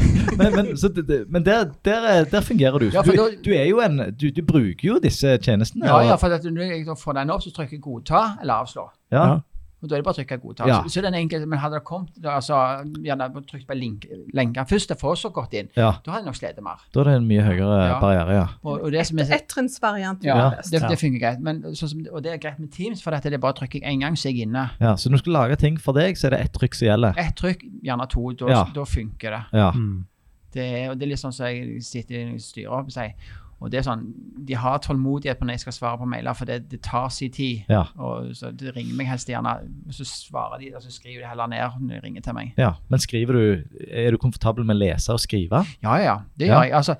men men, så, det- det- men der, der, er- der fungerer du. Ja, Så for du, da- du er jo en du, du bruker jo disse tjenestene. Ja, og- ja, for at når jeg da får den opp, så trykker jeg 'godta' eller 'avslå'. ja. Og Da er det bare å trykke 'godta'. Ja. Så, så den enkelte, Men hadde det kommet da, altså, gjerne bare trykt på link, lenker først, det får så godt inn, ja. da hadde jeg nok slitt mer. Da er det en mye høyere Ja. barriere, ja. Og, og det som er så- Ettrinnsvariant. ja, Ja. det, det fungerer greit. Men, sånn som, og det er greit med Teams, for dette, det er bare å trykke én gang, så er jeg inne. ja. Så når du skal lage ting for deg, så er det ett trykk som gjelder. Ett trykk, gjerne to. Da, Ja. da funker det. Ja. Mm. Det, er- og det er litt sånn som jeg sitter i styret opp og sier. Og det er sånn, De har tålmodighet på når jeg skal svare på mailer, for det, det tar sin tid. Ja. Og så Det ringer meg helst gjerne, og så svarer de, og så skriver de heller ned når de ringer til meg. ja. Men skriver du Er du komfortabel med å lese og skrive? Ja, ja, det Ja. gjør jeg. Altså,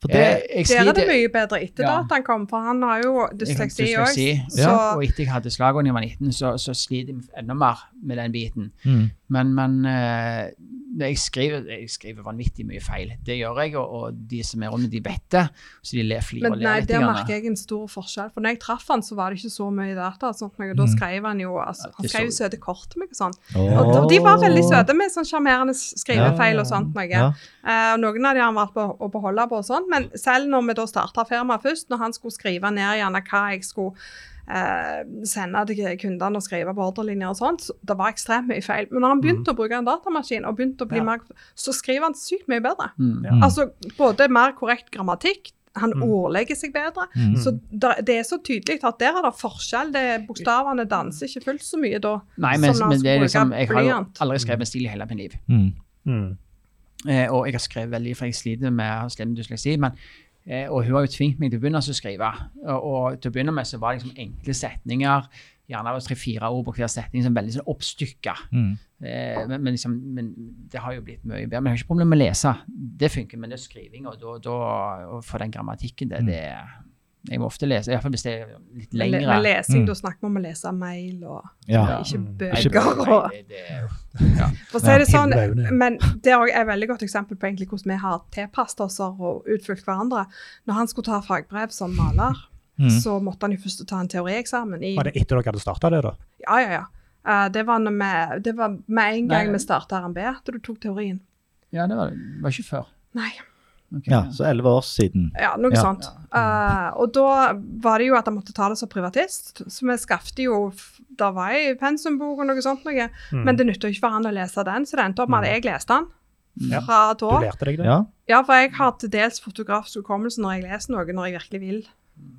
For jeg, det, jeg Der er Eh, det sliter- mye bedre etter Ja. da at han kom, for han har jo jeg har dysleksi òg. dysleksi, Så Og etter jeg hadde slagord da jeg var 19, så, så sliter jeg enda mer med den biten. mm. Men, men eh, når jeg, skriver, jeg skriver vanvittig mye feil. Det gjør jeg, og, og de som er rundt, de vet det. Så de ler flirer Men og nei, ler litt. der grann. merker jeg en stor forskjell. For når jeg traff han, så var det ikke så mye data. og sånt, men Mm. da skrev han jo altså, det han skrev jo så- søte kort til meg og sånn. Og Åh. de- de var veldig søte med sånn sjarmerende skrivefeil og sånt noe. Ja. Eh, og noen av de har han valgt på- å beholde på og sånn, men selv når vi da starta firmaet først, når han skulle skrive ned gjerne hva jeg skulle eh, sende til kundene og skrive på ordrelinjer og sånt, så det var ekstremt mye feil. Men når han begynte å bruke en datamaskin, og begynte å bli Ja. mer, så skriver han sykt mye bedre. Mm. Mhm. Ja. Altså både mer korrekt grammatikk, han Mm. ordlegger seg bedre. Mm. Så der, det er så tydelig at der er det forskjell. Det, bokstavene danser ikke fullt så mye da. Nei, men, som når han men det er skal liksom, bruke jeg har jo blyant. aldri skrevet en stil i hele mitt liv. Mm. Mm. Eh, og jeg har skrevet veldig, for jeg sliter med jeg har slitt med dysleksi. men eh, Og hun har jo tvingt meg til å begynne å skrive. Og, og til å begynne med så var det liksom enkle setninger, gjerne tre-fire ord på hver setning, som veldig sånn oppstykka. Mm. Eh, men, men, liksom, men det har jo blitt mye bedre. Men jeg har ikke Mm. problemer med å lese. Det funker, men det er skriving og, da, da, og for den grammatikken, det, det, Jeg må ofte lese, iallfall hvis det er litt Le- lengre. Med lesing, Mm. da snakker vi om å lese mail og Ja. ikke Mm. Nei, bøker. og- det- det er jo- For å si det sånn, Himla øyne. men det er også et veldig godt eksempel på egentlig hvordan vi har tilpasset oss og utfylt hverandre. Når han skulle ta fagbrev som maler, Mm. så måtte han jo først ta en teorieksamen i Var det etter dere hadde starta det, da? Ja, ja, ja. Eh, det, var når vi- det var med en gang Nei. vi starta RNB at du tok teorien. Ja, det var, var ikke før. Nei. Ok. ja, så elleve år siden. Ja, noe Ja. sånt. Eh, og da var det jo at han måtte ta det som privatist, så vi skaffte jo f- Det var ei pensumbok og noe sånt, noe. Mm. men det nytta jo ikke for han å lese den, så det endte opp med at jeg leste den. Ja. Fra Du da. lærte deg det? Ja. Ja, for jeg har til dels fotografisk hukommelse når jeg leser noe, når jeg virkelig vil.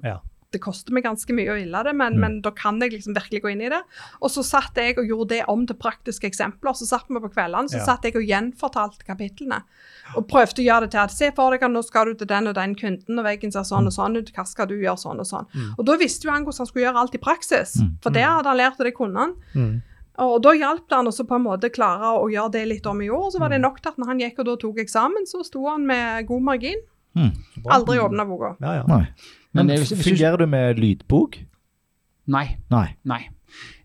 Ja. Det koster meg ganske mye å ville det, men, Mm. men da kan jeg liksom virkelig gå inn i det. Og så satt jeg og gjorde det om til praktiske eksempler. Så satt vi på kveldene så Ja. satt jeg og gjenfortalte kapitlene. Og prøvde å gjøre det til at se for deg at nå skal du til den og den kunden, og veggen ser sånn og sånn ut, hva skal du gjøre sånn og sånn. Mm. Og da visste jo han hvordan han skulle gjøre alt i praksis, Mm. for det hadde han lært, og det kunne han. Mm. Og og da hjalp det han også på en måte klare å gjøre det litt om i år. Så var Mm. det nok til at når han gikk og da tok eksamen, så sto han med god margin. Mm. Så bra. Aldri åpna boka. Ja, ja. Nei. Men Men det er jo- hvis du- fungerer du med lydbok? Nei. Nei. nei.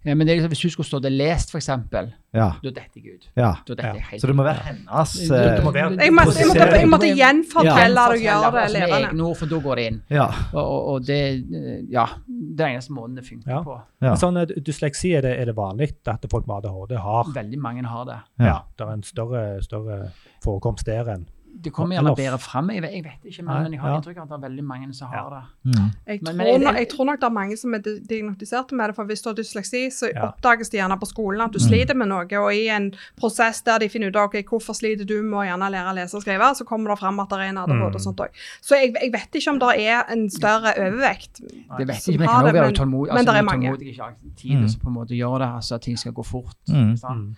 Eh, Men det er liksom, hvis hun skulle stå det lest, f.eks., da Ja. detter jeg ut. ja. Da detter jeg helt Så det må ut. være hennes Det- det- eh, må være- Jeg måtte, jeg måtte, jeg måtte gjenfortelle det og Gjenfortelle, gjøre det altså, med levende. egne ord, for da går det inn. eh, Ja. Og, og, og det eh, Ja. Det er eneste måten det funker Ja. på. Ja. Men Sånn, eh, dysleksi, er det, er det vanlig at folk med ADHD har? Veldig mange har det. Ja. Ja. Det er en større, større forekomst der enn Det kommer Eller gjerne off. bedre fram. Jeg, vet- jeg vet ikke, men, Nei, men jeg har ja. inntrykk av at det er veldig mange som har det. Mm. Jeg Men- tror, men jeg- nok- jeg tror nok det er mange som er di- diagnostiserte med det, for hvis du har dysleksi, så Ja. oppdages det gjerne på skolen Mm. at du sliter med noe, og i en prosess der de finner ut av ok, hvorfor sliter du med å gjerne lære å lese og skrive, så kommer det fram at det er en ADHD Mm. og sånt òg. Så jeg, jeg vet ikke om det er en større overvekt. Det vet som jeg ikke, men jeg har kan også det, være men- utålmodig. men Altså, det er jeg mange. tålmodig ikke alltid tid, Mm. så på en måte gjør det. Altså, at ting skal gå fort. Mm. ikke sant?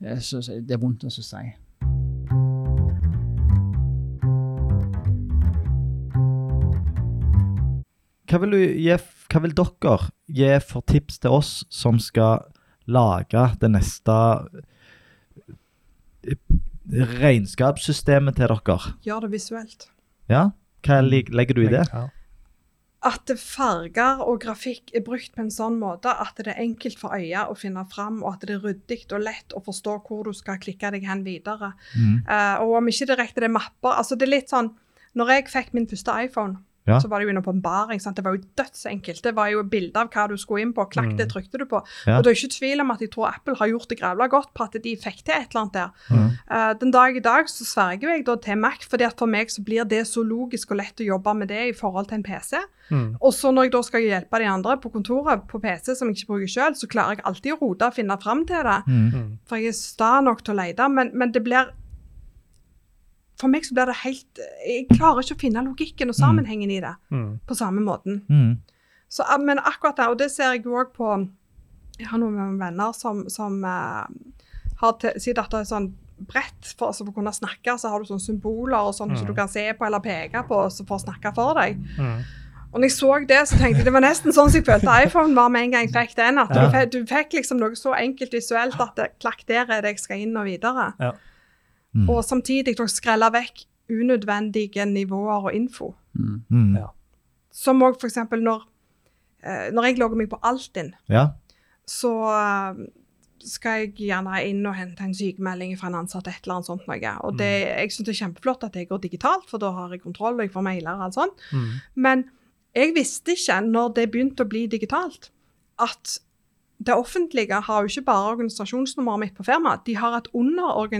Mm. Eh, Så, så det er vondt å så si. Hva vil, du gi, hva vil dere gi for tips til oss som skal lage det neste eh, regnskapssystemet til dere? Gjør det visuelt. Ja? Mm. Hva lig- legger du i det? Ja. At det farger og grafikk er brukt på en sånn måte at det er enkelt for øyet å finne fram, og at det er ryddig og lett å forstå hvor du skal klikke deg hen videre. Mm. Eh, og om ikke direkte det er mapper altså det er litt sånn, Når jeg fikk min første iPhone, Ja. så var det jo en åpenbaring. sant? Det var jo dødsenkelt. Det var jo bilde av hva du skulle inn på. Klakk, det trykte du på. Ja. Og det er ikke tvil om at jeg tror Apple har gjort det grævla godt på at de fikk til et eller annet der. Mhm. Eh, den dag i dag så sverger jeg da til Mac, fordi at for meg så blir det så logisk og lett å jobbe med det i forhold til en PC. Mm. Og så når jeg da skal hjelpe de andre på kontoret på PC som jeg ikke bruker selv, så klarer jeg alltid å rote og finne fram til det. Mm. Mm. For jeg er sta nok til å lete, men, men det blir For meg så blir det helt Jeg klarer ikke å finne logikken og sammenhengen i det Mm. på samme måten. Mm. Så, ah, men akkurat det, og det ser jeg jo òg på Jeg har noen venner som, som eh, har til, sier at det er sånn brett for, altså for å kunne snakke, så har du sånne symboler og sånn som Mm. du kan se på eller peke på så for å snakke for deg. Mm. Og når jeg så det, så tenkte jeg det var nesten sånn som jeg følte iPhone var med en gang jeg fikk den. At du, Ja. fikk, du fikk liksom noe så enkelt visuelt at det, klakk, der er det jeg skal inn og videre. Ja. Mm. Og samtidig dere skreller vekk unødvendige nivåer og info. Mm. Ja. Som òg f.eks. når eh, når jeg logger meg på Altinn, Ja. så eh, skal jeg gjerne inn og hente en sykemelding fra en ansatt, et eller annet sånt noe. Og det, jeg syns det er kjempeflott at det går digitalt, for da har jeg kontroll, og jeg får mailer og alt sånt. Mm. Men jeg visste ikke, når det begynte å bli digitalt, at det offentlige har jo ikke bare organisasjonsnummeret mitt på firmaet. De har et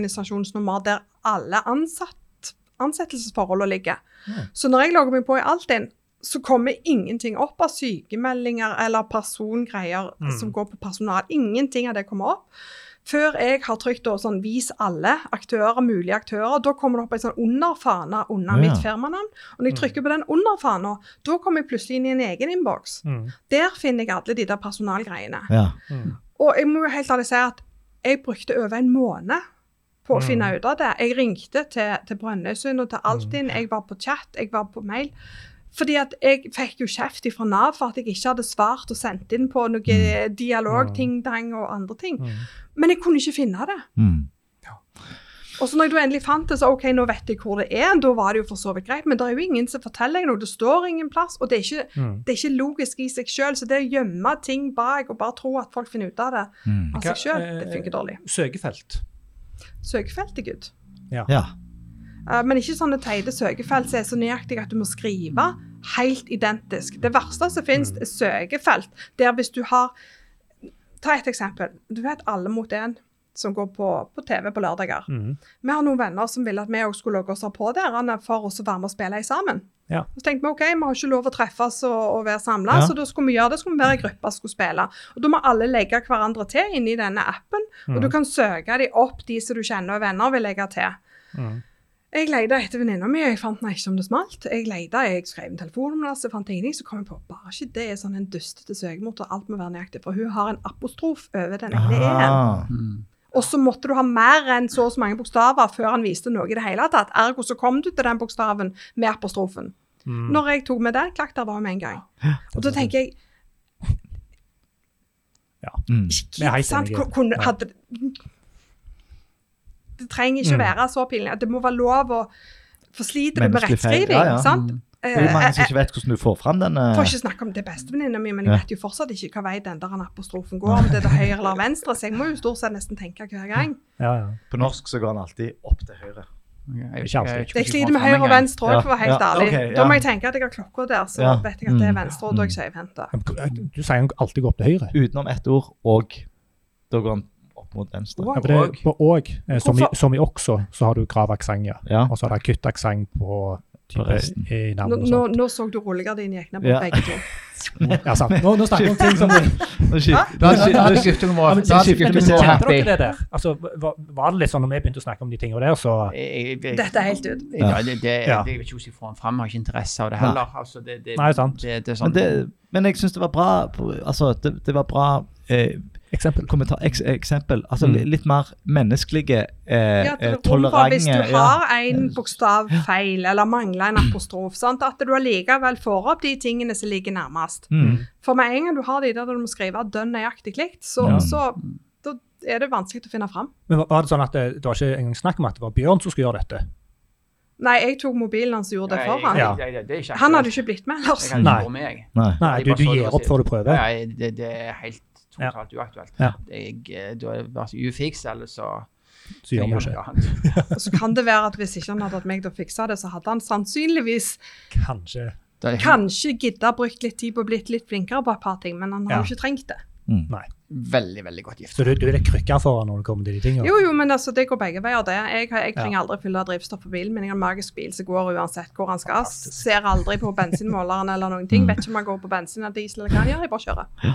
underorganisasjonsnummer der alle ansatt, ansettelsesforholdene ligger. Så når jeg logger meg på i Altinn, så kommer ingenting opp av sykemeldinger eller persongreier Mm. som går på personal. Ingenting av det kommer opp. Før jeg har trykt da sånn 'vis alle aktører, mulige aktører', da kommer det opp en sånn underfane under Ja. mitt firmanavn. Og når Mm. jeg trykker på den underfana, da kommer jeg plutselig inn i en egen innboks. Mm. Der finner jeg alle de der personalgreiene. Ja. Mm. Og jeg må jo helt ærlig si at jeg brukte over en måned på å Mm. finne ut av det. Jeg ringte til, til Brønnøysund og til Altinn, jeg var på chat, jeg var på mail. Fordi at jeg fikk jo kjeft fra Nav for at jeg ikke hadde svart og sendt inn på noe dialog, ting, dang og andre ting. Mm. Men jeg kunne ikke finne det. Mm. Og så når jeg da endelig fant det, så OK, nå vet jeg hvor det er. Da var det jo for så vidt greit, men det er jo ingen som forteller deg noe. Det står ingen plass. Og det er ikke, Mm. det er ikke logisk i seg sjøl. Så det å gjemme ting bak og bare tro at folk finner ut av det Mm. av Hva- seg sjøl, det eh, funker dårlig. Søkefelt. Søkefelt er good. Ja. Eh, Men ikke sånne teite søkefelt som er så nøyaktige at du må skrive helt identisk. Det verste som finnes, Mm. er søkefelt der hvis du har Ta et eksempel. Du vet Alle mot én som går på, på TV på lørdager. Mm. Vi har noen venner som ville at vi også skulle logge oss på der Anne, for oss å være med og spille i sammen. Ja. Så tenkte vi OK, vi har ikke lov å treffes og, og være samla, Ja. så da skulle vi gjøre det, skulle vi være i gruppe skulle spille. Og Da må alle legge hverandre til inni denne appen, og du Mhm. kan søke de opp, de som du kjenner og venner vil legge til. Mm. Jeg leide etter venninna mi, jeg fant henne ikke som det smalt. Jeg leide, jeg skrev en telefonnummer, så fant jeg ingenting, så kom jeg på bare ikke det er sånn en dustete søkemotor, alt må være nøyaktig, for hun har en apostrof over den ene e-en. Ah. Mm. Og så måtte du ha mer enn så og så mange bokstaver før han viste noe i det hele tatt. Ergo så kom du til den bokstaven med apostrofen. Mm. Når jeg tok med den, klakk der var hun med en gang. Og da tenker jeg Mm. Vi er helt sant, enige. kunne, Ja. hadde, Det trenger Mm. ikke å være så pinlig. Det må være lov å forslite det med Menneskelig feil, rettskriving. ja, ja. Mm. sant? Det er jo mange Eh, som ikke vet hvordan du får fram den eh, får ikke snakke om det bestevenninna mi, men jeg Ja. vet jo fortsatt ikke hva vei den der apostrofen går, om det er til høyre eller venstre, så jeg må jo stort sett nesten tenke hver gang. Ja, ja. På norsk så går den alltid opp til høyre. Ok, jeg Ikke vet alltid. jeg vet Jeg hvordan jeg sliter med får høyre og fram en venstre òg, for å være helt Ja, ærlig. ok, ja. Da må jeg tenke at jeg har klokka der, så Ja. vet jeg at det er Mm. venstre, og da er jeg skjevhendt. Men k- eh, Du sier han alltid går opp til høyre. Utenom ett ord og. Da går den opp mot venstre. Wow. Ja, for det, på og, eh, som, i, Hvorfor- som i også, så har du gravaksent, ja. Ja. Og så har du akuttaksent på typisk resten. i Nå, navnet. og nå, sånt. nå så du roligere dine jekner på Ja. begge to. Ja, sant. Nå, nå snakker vi om ting som Nå skifter- nå Da hadde- da skifter- hadde guttungen vår Ja, men da hadde skifter men guttungen vi vår tema. Kjente happy. dere det der? Altså, var, var det litt sånn når vi begynte å snakke om de tingene der, så Jeg- jeg- jeg- Dette er helt ut. Ja, det, det, Ja. Jeg vil ikke si foran fram, har ikke interesse av det heller. Altså, det, det, Nei, sant. Det, det er Men, sånn. det, men jeg syns det var bra altså, det, det var bra eh, Eksempel. kommentar, eks, eksempel. Altså Mm. li- litt mer menneskelige, eh, Ja, at eh, det er rom for tolerante hvis du ja. har en bokstav feil eller mangler en apostrof, sant? at du allikevel får opp de tingene som ligger nærmest. Mm. For med en gang du har de der du må skrive dønn nøyaktig likt, så, Ja. så da er det vanskelig å finne fram. Men var- var det sånn at det, det var ikke engang snakk om at det var Bjørn som skulle gjøre dette? Nei, jeg tok mobilen hans og gjorde det for Ja. han. det, det, det er ikke Han hadde jo ikke blitt med ellers. Jeg hadde Nei. ikke vært med, jeg. Nei. Nei, du, du gir opp før du prøver. Nei, det, det er helt totalt uaktuelt. Ja. Jeg, eh, da er det vært ufiks, eller så Så gjør vi det ikke. Ja, han- Og så kan det være at hvis ikke han hadde hatt meg til å fikse det, så hadde han sannsynligvis Kanskje. da er det kanskje gidda brukt litt tid på å blitt litt flinkere på et par ting, men han har Ja. jo ikke trengt det. veldig, veldig godt gift. Så du, du er litt krykka foran når det kommer til de tingene? Jo, jo, men altså, det går begge veier, det. Jeg, har- jeg trenger aldri fylle drivstoff på bilen min. Jeg har en magisk bil som går uansett hvor han skal. Ser aldri på bensinmåleren eller noen ting. Vet ikke om han går på bensin eller diesel eller hva han gjør. Jeg bare kjører.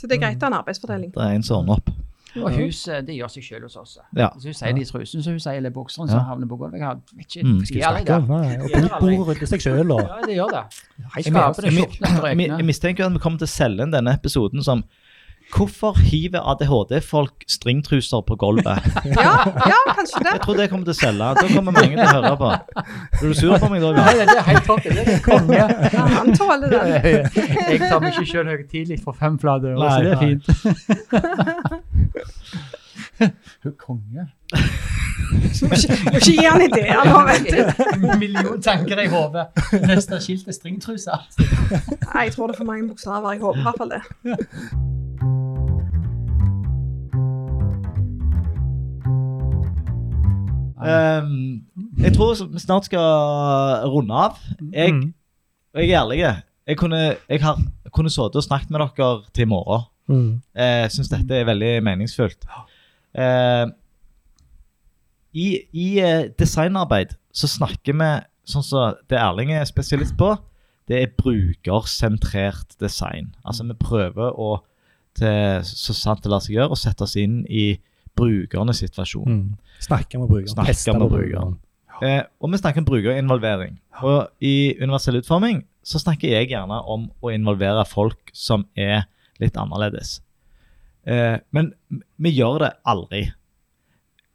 Så det er greit å ha en arbeidsfordeling. Det er en som ordner opp. Og huset, det gjør seg selv hos oss. Ja. Hvis hun sier det i trusen, så hun sier eller bukseren, Ja. så havner på gulvet. Jeg har ikke Mm. jeg Skal gjør vi det snakke da. om eh, det? Og bo- bo rundt seg sjøl og Ja, det gjør det. Hei, Jeg skaper det Jeg, skjortene og mi- jeg røykene. mistenker at vi kommer til å selge inn denne episoden som Hvorfor hiver ADHD-folk stringtruser på gulvet? Ja, ja kanskje det. Jeg tror det kommer til å selge. Da kommer mange til å høre på. Er du sur på meg da, Nei, Bjørn? det er helt topp. Det er konge. Ja, han tåler det. Jeg tar meg ikke selv høytidlig for fem flater. Nei, så det er nei. fint. Hun er konge. Du må ikke må ikke gi han ideer nå, vet du. En million tanker i hodet. Neste skilt er stringtruse. Nei, jeg tror det er for mange bokstaver. Jeg håper i hvert fall det. Um, jeg tror vi snart skal runde av. Jeg, Mm. og jeg er ærlig. Jeg kunne, jeg har, kunne sittet og snakket med dere til i morgen. Eh, Mm. Jeg syns dette er veldig meningsfullt. Eh, I i eh, designarbeid så snakker vi sånn som det Erling er spesialist på. Det er brukersentrert design. Altså vi prøver å til, så sant det lar seg gjøre, å sette oss inn i brukernes situasjon. Mm. Snakke med brukeren. Snakke Teste med brukeren. Eh, og vi snakker om brukerinvolvering. Og i universell utforming så snakker jeg gjerne om å involvere folk som er litt annerledes. Eh, men vi gjør det aldri.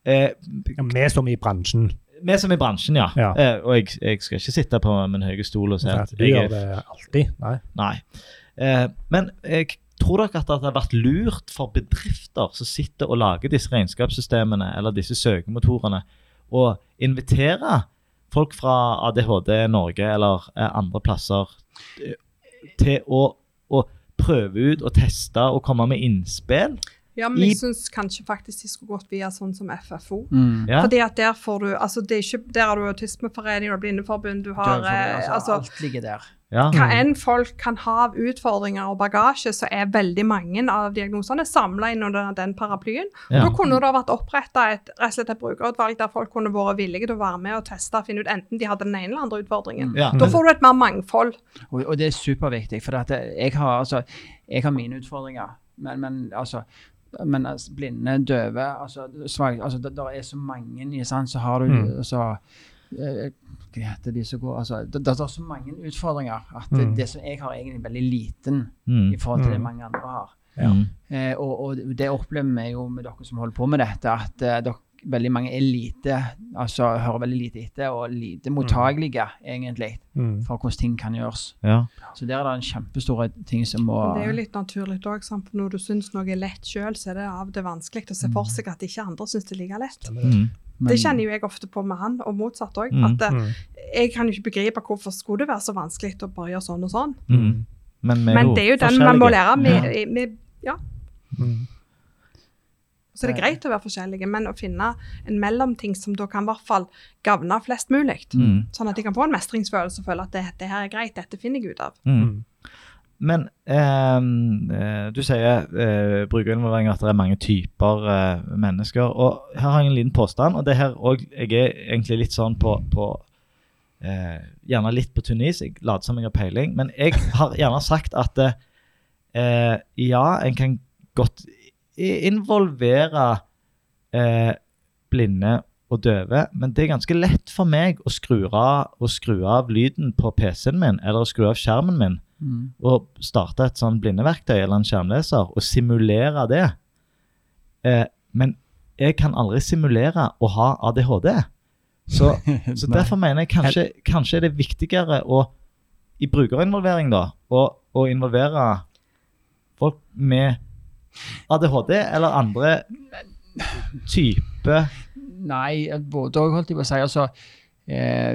Eh, Ja, Vi som i bransjen. vi som i bransjen, ja. Ja. Eh, og jeg, jeg skal ikke sitte på min høye stol og si Ja, at du jeg Sånn gjør er det alltid. Nei. Nei. Eh, men eh, Tror dere at det har vært lurt for bedrifter som sitter og lager disse regnskapssystemene eller disse søkemotorene, å invitere folk fra ADHD Norge eller eh, andre plasser eh, til å, å prøve ut og teste og komme med innspill? Ja, men jeg I- syns kanskje faktisk de skulle gått via sånn som FFO. Mm. Ja. Fordi at der får du altså det er ikke, Der har du Autismeforeningen og Blindeforbund, du har sånn, eh, altså, altså, alt ligger der. Ja. Hva enn folk kan ha av utfordringer og bagasje, så er veldig mange av diagnosene samla inn under den paraplyen. Og Ja. Da kunne det ha vært oppretta et, rett og slett et brukerutvalg der folk kunne vært villige til å være med og teste og finne ut enten de hadde den ene eller andre utfordringen. Ja. Da får du et mer mangfold. Og, og det er superviktig, for at jeg, har, altså, jeg har mine utfordringer. Men, men altså men altså, blinde, døve altså, svak, altså, det, der er så mange sant, så har du Mm. så, eh, Hva heter de som går altså, det, det er så mange utfordringer at Mm. det som jeg har, er egentlig veldig liten i Mm. forhold til det Mm. mange andre har. Ja. Mm. Eh, og, og det opplever vi jo med dere som holder på med dette, at eh, dere, veldig mange er lite altså hører veldig lite etter og lite mottagelige, egentlig, Mm. for hvordan ting kan gjøres. Ja. Så der er det en kjempestor ting som må Men Det er jo litt naturlig òg. Når du syns noe er lett sjøl, så er det av det vanskelig å se for seg at ikke andre syns det er like lett. Stemmer det. Mm. men- Det kjenner jo jeg ofte på med han, og motsatt òg. Mm. At eh, Mm. jeg kan jo ikke begripe hvorfor skulle det være så vanskelig å bare gjøre sånn og sånn. Mm. Men, vi Men det er jo den man må lære. Vi- vi- Mm. Så det er greit å være forskjellige, men å finne en mellomting som da kan i hvert fall gagne flest mulig. Mm. Sånn at de kan få en mestringsfølelse og føle at det, det her er greit, dette finner jeg ut av. Mm. Mm. Men ehm, eh, du sier eh, brukerinvolvering at det er mange typer eh, mennesker. Og her har jeg en liten påstand, og det her òg Jeg er egentlig litt sånn på, på eh, Gjerne litt på tynn is. Jeg later som jeg har peiling. Men jeg har gjerne sagt at eh, eh, ja, en kan godt i- involvere eh, blinde og døve, men det er ganske lett for meg å skru av, å skru av lyden på PC-en min eller å skru av skjermen min Mm. og starte et sånn blindeverktøy eller en skjermleser og simulere det. Eh, men jeg kan aldri simulere å ha ADHD. Så, så Nei. derfor mener jeg kanskje, kanskje er det viktigere å, i brukerinvolvering da, å, å involvere folk med ADHD eller andre type Nei, både òg, holdt jeg på å si. Altså, eh,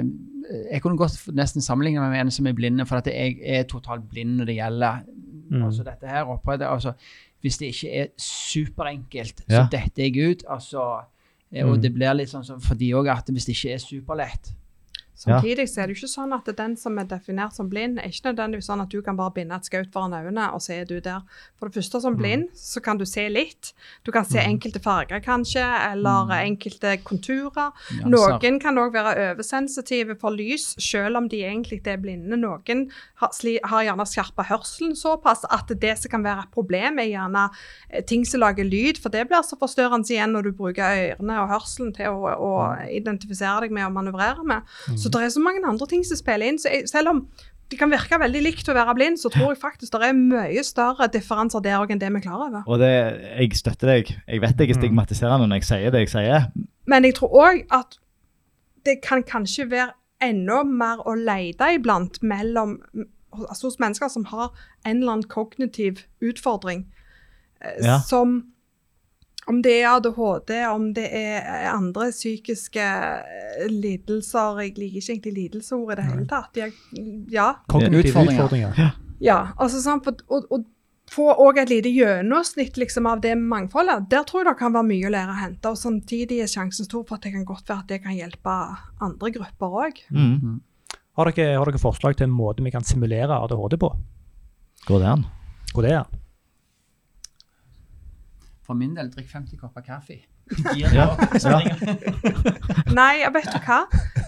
jeg kunne godt nesten sammenligne meg med en som er blinde, for at jeg er totalt blind når det gjelder Mm. altså, dette her. Oppe, det, altså, hvis det ikke er superenkelt, så Ja. detter jeg ut. Altså, eh, og Mm. det blir litt sånn som for de òg, at hvis det ikke er superlett Samtidig så er det jo ikke sånn at den som er definert som blind, er ikke nødvendigvis sånn at du kan bare binde et skaut foran øynene, og så er du der. For det første, Mm. som blind, så kan du se litt. Du kan se enkelte farger, kanskje, eller eh, Mm. enkelte konturer. nyanser. Noen kan òg være oversensitive for lys, selv om de egentlig er blinde. Noen har, sli, har gjerne skjerpa hørselen såpass at det som kan være et problem, er gjerne eh, ting som lager lyd, for det blir så forstørrende igjen når du bruker ørene og hørselen til å, å identifisere deg med og manøvrere med. Mm. Så det er så mange andre ting som spiller inn. Så jeg, selv om det kan virke veldig likt å være blind, så tror jeg faktisk det er mye større differanser der òg enn det vi er klar over. Og det, jeg støtter deg. Jeg vet jeg er stigmatiserende når jeg sier det jeg sier. Men jeg tror òg at det kan kanskje være enda mer å lete iblant mellom altså hos mennesker som har en eller annen kognitiv utfordring. eh, Ja. Som om det er ADHD, om det er eh, andre psykiske eh, lidelser Jeg liker ikke egentlig lidelseord i det hele tatt. Jeg, ja, Kognitive Utfordringer. utfordringer. ja, altså sant, for, og, og få også et lite gjennomsnitt liksom, av det mangfoldet. Der tror jeg det kan være mye å lære å hente. og Samtidig er sjansen stor for at det kan godt være at det kan hjelpe andre grupper òg. Mm. Har, dere, har dere forslag til en måte vi kan simulere ADHD på? Går det an? Hvor det er? For min del, drikk 50 kopper kaffe. Ja. Ja. Nei, jeg vet du hva?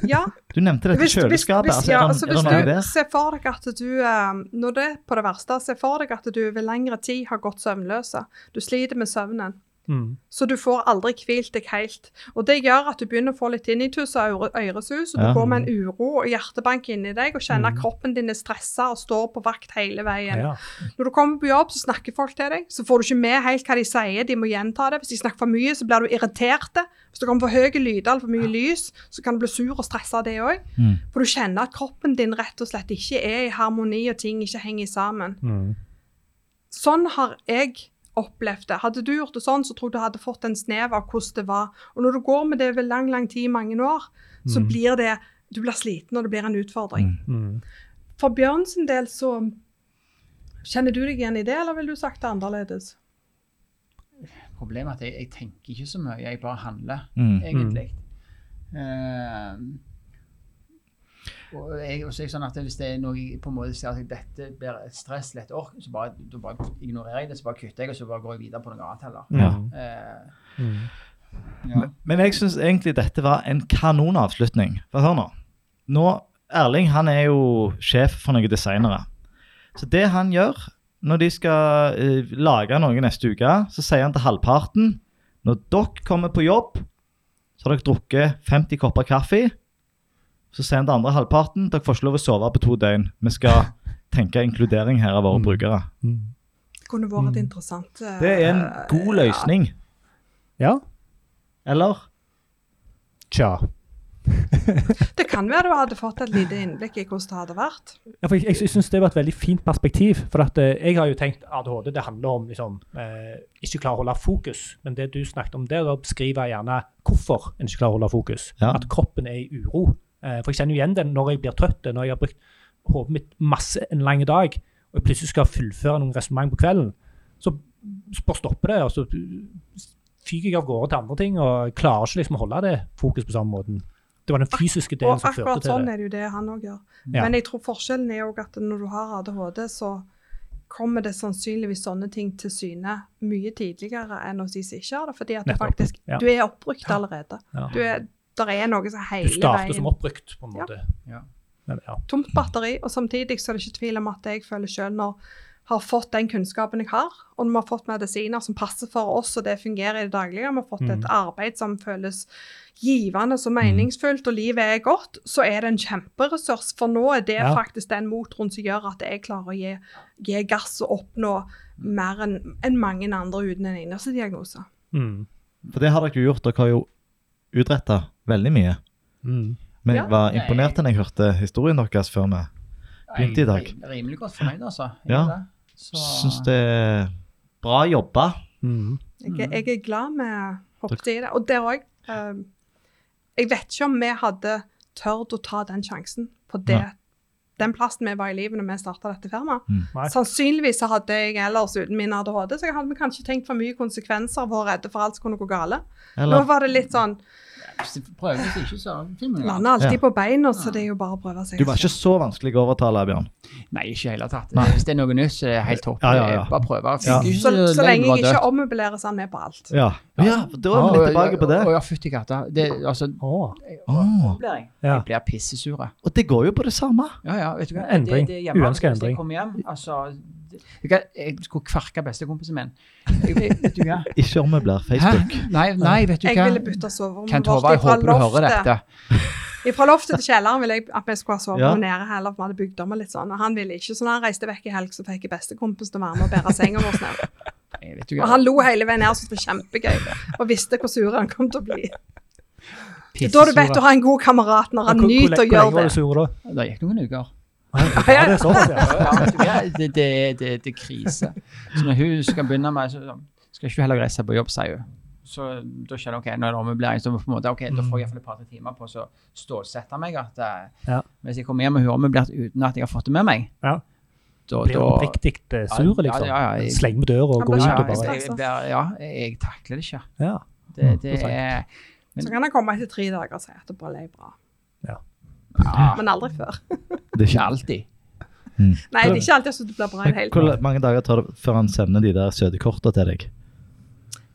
Ja, Du nevnte dette hvis, hvis, kjøleskapet. hvis, altså, er ja, det- altså, er det hvis noe du der? ser for deg at du eh, når det er på det verste, ser for deg at du ved lengre tid har gått søvnløse. Du sliter med søvnen. Mm. Så du får aldri hvilt deg helt. Og det gjør at du begynner å få litt tinnitus og øre- øresus, og du Ja. går med en uro og hjertebank inni deg og kjenner at kroppen din er stressa og står på vakt hele veien. Ja. Når du kommer på jobb, så snakker folk til deg, så får du ikke med helt hva de sier, de må gjenta det. Hvis de snakker for mye, så blir du irritert. Hvis det kommer for høye lyder eller for mye lys, så kan du bli sur og stressa av det òg. Mm. For du kjenner at kroppen din rett og slett ikke er i harmoni, og ting ikke henger sammen. Mm. Sånn har jeg opplevd det. Hadde du gjort det sånn, så tror jeg du hadde fått en snev av hvordan det var. Og når du går med det over lang, lang tid, mange år, så Mm. blir det Du blir sliten, og det blir en utfordring. Mm. For Bjørn sin del så Kjenner du deg igjen i det, eller ville du sagt det annerledes? Problemet er at jeg, jeg tenker ikke så mye, jeg bare handler, Mm. egentlig. Eh, og jeg, og så er jeg sånn at Hvis det er noe jeg på en måte ser at dette blir et stress eller et ork, så bare, da bare ignorerer jeg det, så bare kutter jeg, og så bare går jeg videre på noe annet heller. Ja. Eh, Mm. ja. Men jeg syns egentlig dette var en kanonavslutning. For hør nå. nå Erling han er jo sjef for noen designere. Så det han gjør når de skal eh, lage noe neste uke, så sier han til halvparten Når dere kommer på jobb, så har dere drukket 50 kopper kaffe. Så sier han til andre halvparten dere får ikke lov å sove på to døgn. Vi skal tenke inkludering her av våre Mm. brukere. Mm. Det kunne vært Mm. interessant. eh, Det er en god løsning. Ja. Eller? Tja. Det kan være du hadde fått et lite innblikk i hvordan det hadde vært. Ja, for jeg, jeg syns det var et veldig fint perspektiv. For at, eh, jeg har jo tenkt ADHD det handler om liksom, eh, ikke klare å holde fokus. Men det du snakket om der, da beskriver jeg gjerne hvorfor en ikke klarer å holde fokus. Ja. At kroppen er i uro. Eh, for jeg kjenner jo igjen den når jeg blir trøtt, eh, når jeg har brukt hodet mitt masse en lang dag, og jeg plutselig skal fullføre noen resonnement på kvelden. Så s- bare stopper det, og så fyker jeg av gårde til andre ting og jeg klarer ikke liksom å holde det fokus på samme måten. Det var den fysiske delen Og som førte akkurat til sånn det. er det jo det han òg gjør. Ja. Men jeg tror forskjellen er òg at når du har ADHD, så kommer det sannsynligvis sånne ting til syne mye tidligere enn hos de som ikke har det. Fordi at du Nettopp, faktisk ja. du er oppbrukt allerede. Ja. Du er, der er noe som Du hele starter som veien opprykt, på en Ja. måte. Ja. Men, ja. Tomt batteri. Og samtidig så er det ikke tvil om at jeg føler sjøl når har fått den kunnskapen jeg har, og vi har fått medisiner som passer for oss, og det fungerer i det daglige, vi har fått et Mm. arbeid som føles givende og meningsfullt, og livet er godt, så er det en kjemperessurs. For nå er det Ja. faktisk den motoren som gjør at jeg klarer å gi, gi gass og oppnå mer enn enn mange andre uten en eneste diagnose. Mm. For det har dere jo gjort. Dere har jo utretta veldig mye. Mm. Men Ja, jeg var nei. imponert da jeg hørte historien deres før vi Begynte i dag. Jeg er rimelig godt fornøyd, altså. Jeg Ja. er det. Så, syns det er bra jobba. Mm. Jeg, Mm. er- jeg er glad vi hoppet i det. Og der òg Jeg vet ikke om vi hadde tørt å ta den sjansen på det, Nei. den plassen vi var i livet når vi starta dette firmaet. Nei. Sannsynligvis så hadde jeg ellers uten min ADHD, så hadde vi kanskje tenkt for mye konsekvenser og vært redde for alt som kunne gå gale. Nå Eller var det litt sånn Hvis du prøver, hvis ikke, så finner vi noe annet. Lander alltid Ja. på beina, så det er jo bare å prøve seg. du var ikke så vanskelig å overtale, Bjørn. Nei, ikke i det hele tatt. Hvis det er noe nytt, så er det helt topp. Ja, ja, ja. Bare prøve. Ja. Ikke så, så legg lenge bare jeg dødt. ikke ommøblerer så han med på alt. Ja, ja da er vi litt tilbake på det. Å ja, fytti katta. Det, altså, Å, Åh, ja. jeg blir pissesure. og det går jo på det samme. Ja, ja, vet du hva. Endring. Det, det er hjemme, Uønsket Hvis endring. jeg kommer hjem, altså... det- vet du hva, Jeg skulle kverke bestekompisen min. Jeg- jeg- Vet du hva? Ikke om vi blir Hæ? Facebook. Nei, nei, vet du Jeg hva? ville bytte soverommet Kent Håvard, jeg ifra håper du hører dette. Fra loftet til kjelleren ville jeg at vi skulle ha Ja. soverommet nede heller, for vi hadde bygd om og litt sånn. Og han ville ikke, så når han reiste vekk i helg, så fikk jeg bestekompisen til å være med og bære senga vår ned. Nei, vet du Og hva? han lo hele veien ned og syntes det var kjempegøy, og visste hvor sur han kom til å bli. Det er Da du Pissesure. vet du har en god kamerat når Hvor- han hvor- nyter å Hvor lenge gjøre var du det. sur da? Det gikk noen uker. Ja, det er sånn. såpass, ja. Ja, vet du hva? det, det, det, det er krise. Så når hun skal begynne med så sånn, skal ikke du heller reise på jobb, sier hun. Så da skjønner jeg ok, nå er det ommøblering. Så på en måte, ok, da får jeg iallfall et par timer på å så stålsette meg. at eh, Ja. Hvis jeg kommer hjem og hun er ommøblert uten at jeg har fått det med meg Ja. da, Blir da, oppriktig eh, sur, Ja, liksom. ja, ja, jeg- Sleng med døra og Han gå ble ut og ja, skjerpet bare seg. jeg, jeg, blir- ja, jeg takler det ikke. ja. Det, altså. Mm, det for er Så kan han komme etter tre dager og si at det bare er bra. ja, Men aldri før. Det er ikke ikke alltid. Nei, det er ikke alltid så det blir bra i det Men hele Hvor tatt. mange dager tar det før han sender de der søte korta til deg?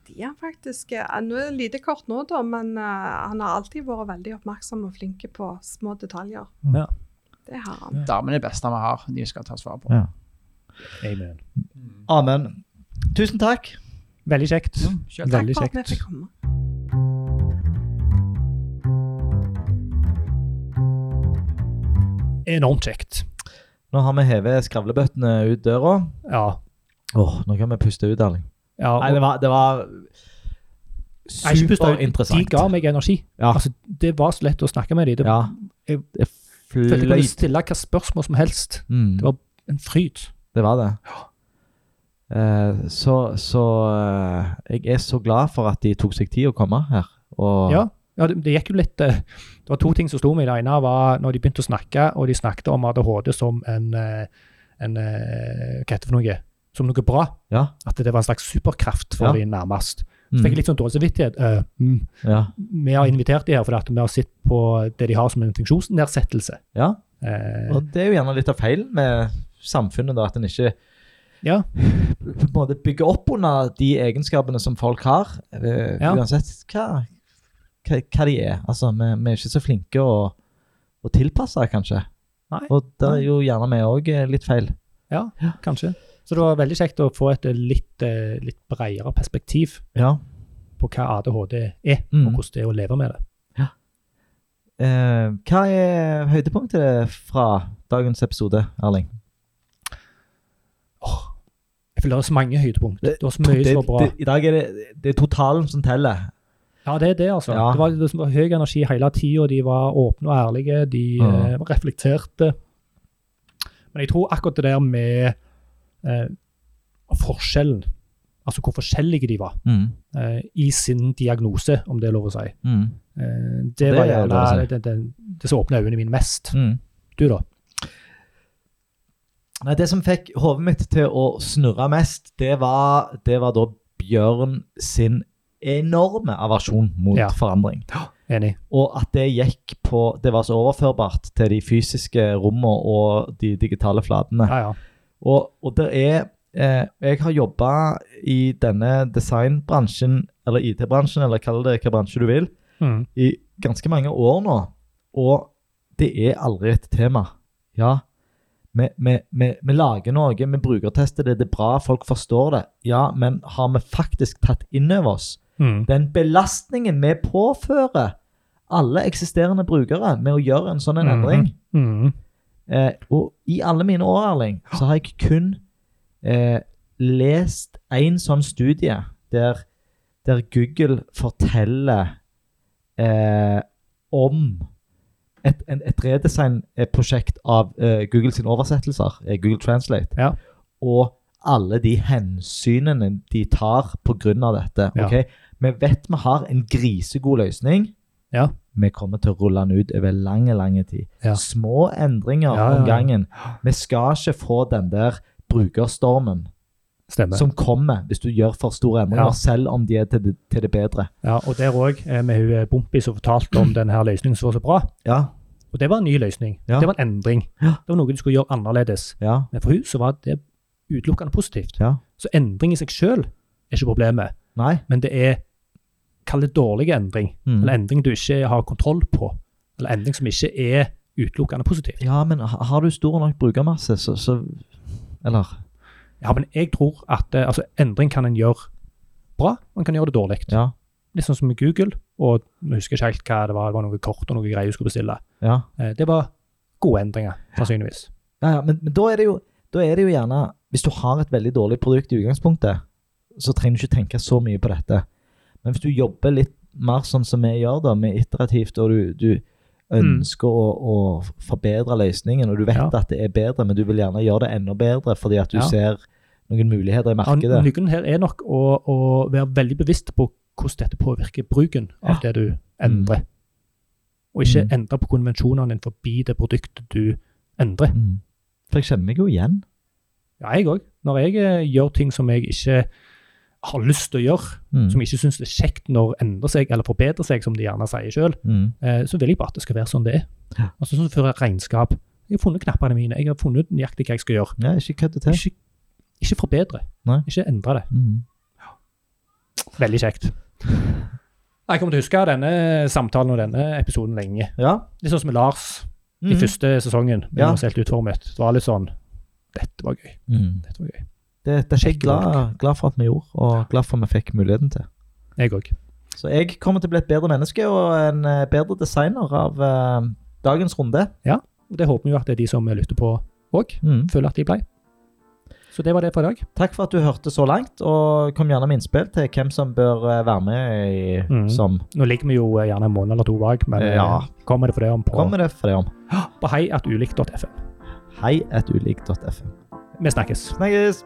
De er faktisk eh, Nå er det lite kort nå, da, men eh, han har alltid vært veldig oppmerksom og flink på små detaljer. Ja. Det har han. Damene er det beste vi har. De skal tas vare på. Ja. Amen. Amen. Tusen takk. Veldig kjekt. Mm, selv takk. Takk Veldig for at vi kjekt. fikk komme. Enormt kjekt. Nå har vi hevet skravlebøttene ut døra. Ja. Åh, nå kan vi puste ut, Erling. ja og- Nei, det var, det var Nei, ikke puste ut. De ga superinteressant. meg energi. Ja. Altså, det var så lett å snakke med dem. Det Ja. Jeg- Det Mm, følte jeg kunne fløyt. stille hva spørsmål som helst. Mm. Det var en fryd. Det var det. Eh, så så eh, jeg er så glad for at de tok seg tid å komme her. Og, Ja, ja det, det gikk jo litt eh, Det var to ting som slo meg. Det ene var når de begynte å snakke, og de snakket om ADHD som en, eh, en eh, Hva heter det for noe? Som noe bra. Ja. At det var en slags superkraft for Ja. de nærmest. Mm, Så fikk jeg litt sånn dårlig samvittighet. Eh, mm, ja. vi har invitert de her fordi at vi har sett på det de har som en funksjonsnedsettelse. ja. Eh, Og det er jo gjerne litt av feilen med samfunnet, da, at en ikke Ja. på en måte bygger opp under de egenskapene som folk har, eh, Ja. uansett hva, hva, hva de er. Altså, vi, vi er ikke så flinke å, å tilpasse, kanskje. Nei. Og det er jo gjerne vi òg litt feil. ja, kanskje. Så det var veldig kjekt å få et eh, litt, eh, litt bredere perspektiv Ja. på hva ADHD er, Mm. og hvordan det er å leve med det. Eh, hva er høydepunktet fra dagens episode, Erling? Jeg føler det er så mange høydepunkt. Det var så mye det, som var bra. det, I dag er det, det er totalen som teller. Ja, det er det, altså. Ja. Det, var, det var høy energi hele tida. De var åpne og ærlige. De Ja. eh, reflekterte. Men jeg tror akkurat det der med eh, forskjellen, altså hvor forskjellige de var Mm. eh, i sin diagnose, om det er lov å si, eh, Mm. det, er altså. var lov å gjerne si. det, det, det som åpna øynene mine mest. Mm. Du, da? Nei, det som fikk hodet mitt til å snurre mest, det var, det var da Bjørn sin enorme aversjon mot Ja. forandring. Enig. Og at det gikk på Det var så overførbart til de fysiske rommene og de digitale flatene. Ja, ja. Og, og det er eh, Jeg har jobba i denne designbransjen, eller IT-bransjen, eller kall det hva bransje du vil, Mm. i ganske mange år nå, og det er aldri et tema. Ja, vi, vi, vi, vi lager noe, vi brukertester det, det er bra, folk forstår det. Ja, men har vi faktisk tatt inn over oss Mm. den belastningen vi påfører alle eksisterende brukere med å gjøre en sånn en Mhm. endring? Mm. Eh, og i alle mine år, Erling, så har jeg kun eh, lest én sånn studie der, der Google forteller eh, om et, en, et redesign-prosjekt av eh, Google sine oversettelser, eh, Google Translate, Ja. og alle de hensynene de tar pga. dette. Ja. ok? Vi vet vi har en grisegod løsning. Ja. Vi kommer til å rulle den ut over lange, lange tid. Ja. Små endringer Ja, ja, ja. om gangen. Vi skal ikke få den der brukerstormen Stemmer. som kommer hvis du gjør for store endringer, Ja. selv om de er til det, til det bedre. Ja, og der òg, med hun eh, Bompi som fortalte om denne her løsningen som var så bra. Ja, Og det var en ny løsning. Ja. Det var en endring. Ja. Det var noe du skulle gjøre annerledes. ja, Men for hun så var det utelukkende positivt. ja. Så endring i seg sjøl er ikke problemet, Nei. men det er Kall det dårlig endring, Mm. eller endring du ikke har kontroll på. Eller endring som ikke er utelukkende positiv. Ja, men ha- har du stor nok brukermasse, så, så Eller? Ja, men jeg tror at eh, altså, endring kan en gjøre bra, og en kan gjøre det dårlig. Ja. Litt sånn som med Google, og jeg husker ikke helt hva det var, det var noe kort og noe greier du skulle bestille. Ja. Eh, Det var gode endringer, sannsynligvis. Ja, ja, men, men da, er det jo, da er det jo gjerne Hvis du har et veldig dårlig produkt i utgangspunktet, så trenger du ikke tenke så mye på dette. Men hvis du jobber litt mer sånn som vi gjør, da, med iterativt, og du, du ønsker å, å forbedre løsningen, og du vet Mm. Ja. at det er bedre, men du vil gjerne gjøre det enda bedre fordi at du Ja. ser noen muligheter i Ja, markedet. Nøkkelen her er nok å, å være veldig bevisst på hvordan dette påvirker bruken av det du endrer. Og ikke Mm. endre på konvensjonene din forbi det produktet du endrer. Mm. For jeg kjenner meg jo igjen. Ja, jeg òg. Når jeg eh, gjør ting som jeg ikke har lyst til å gjøre, Mm. som jeg ikke syns er kjekt når endrer seg eller forbedrer seg, som de gjerne sier sjøl, Mm. så vil jeg bare at det skal være sånn det er. Ja. Altså sånn fører regnskap. Jeg har funnet knappene mine, jeg har funnet ut nøyaktig hva jeg skal gjøre. Ja, ikke kødd til. Ikke, ikke forbedre, Nei. ikke endre det. Mm. Veldig kjekt. Jeg kommer til å huske denne samtalen og denne episoden lenge. Ja. Litt sånn som med Lars i Mhm. første sesongen. med Ja. Lars helt utformet. Det var litt sånn Dette var gøy. Mm. Dette var gøy. Det, det er jeg Skikkelig glad, glad for at vi gjorde, og glad for at vi fikk muligheten til. Jeg òg. Så jeg kommer til å bli et bedre menneske og en eh, bedre designer av eh, dagens runde. Og det håper vi jo at det er de som lytter på òg, Mm. føler at de ble. Så det var det for i dag. Takk for at du hørte så langt, og kom gjerne med innspill til hvem som bør eh, være med i, Mm. som Nå ligger vi jo eh, gjerne en måned eller to bak, men eh, Ja. kommer det for det om på, kommer det for deg om. på heiatulikt.fm. Hei, etulik.fm. Vi snakkes. Snakkes!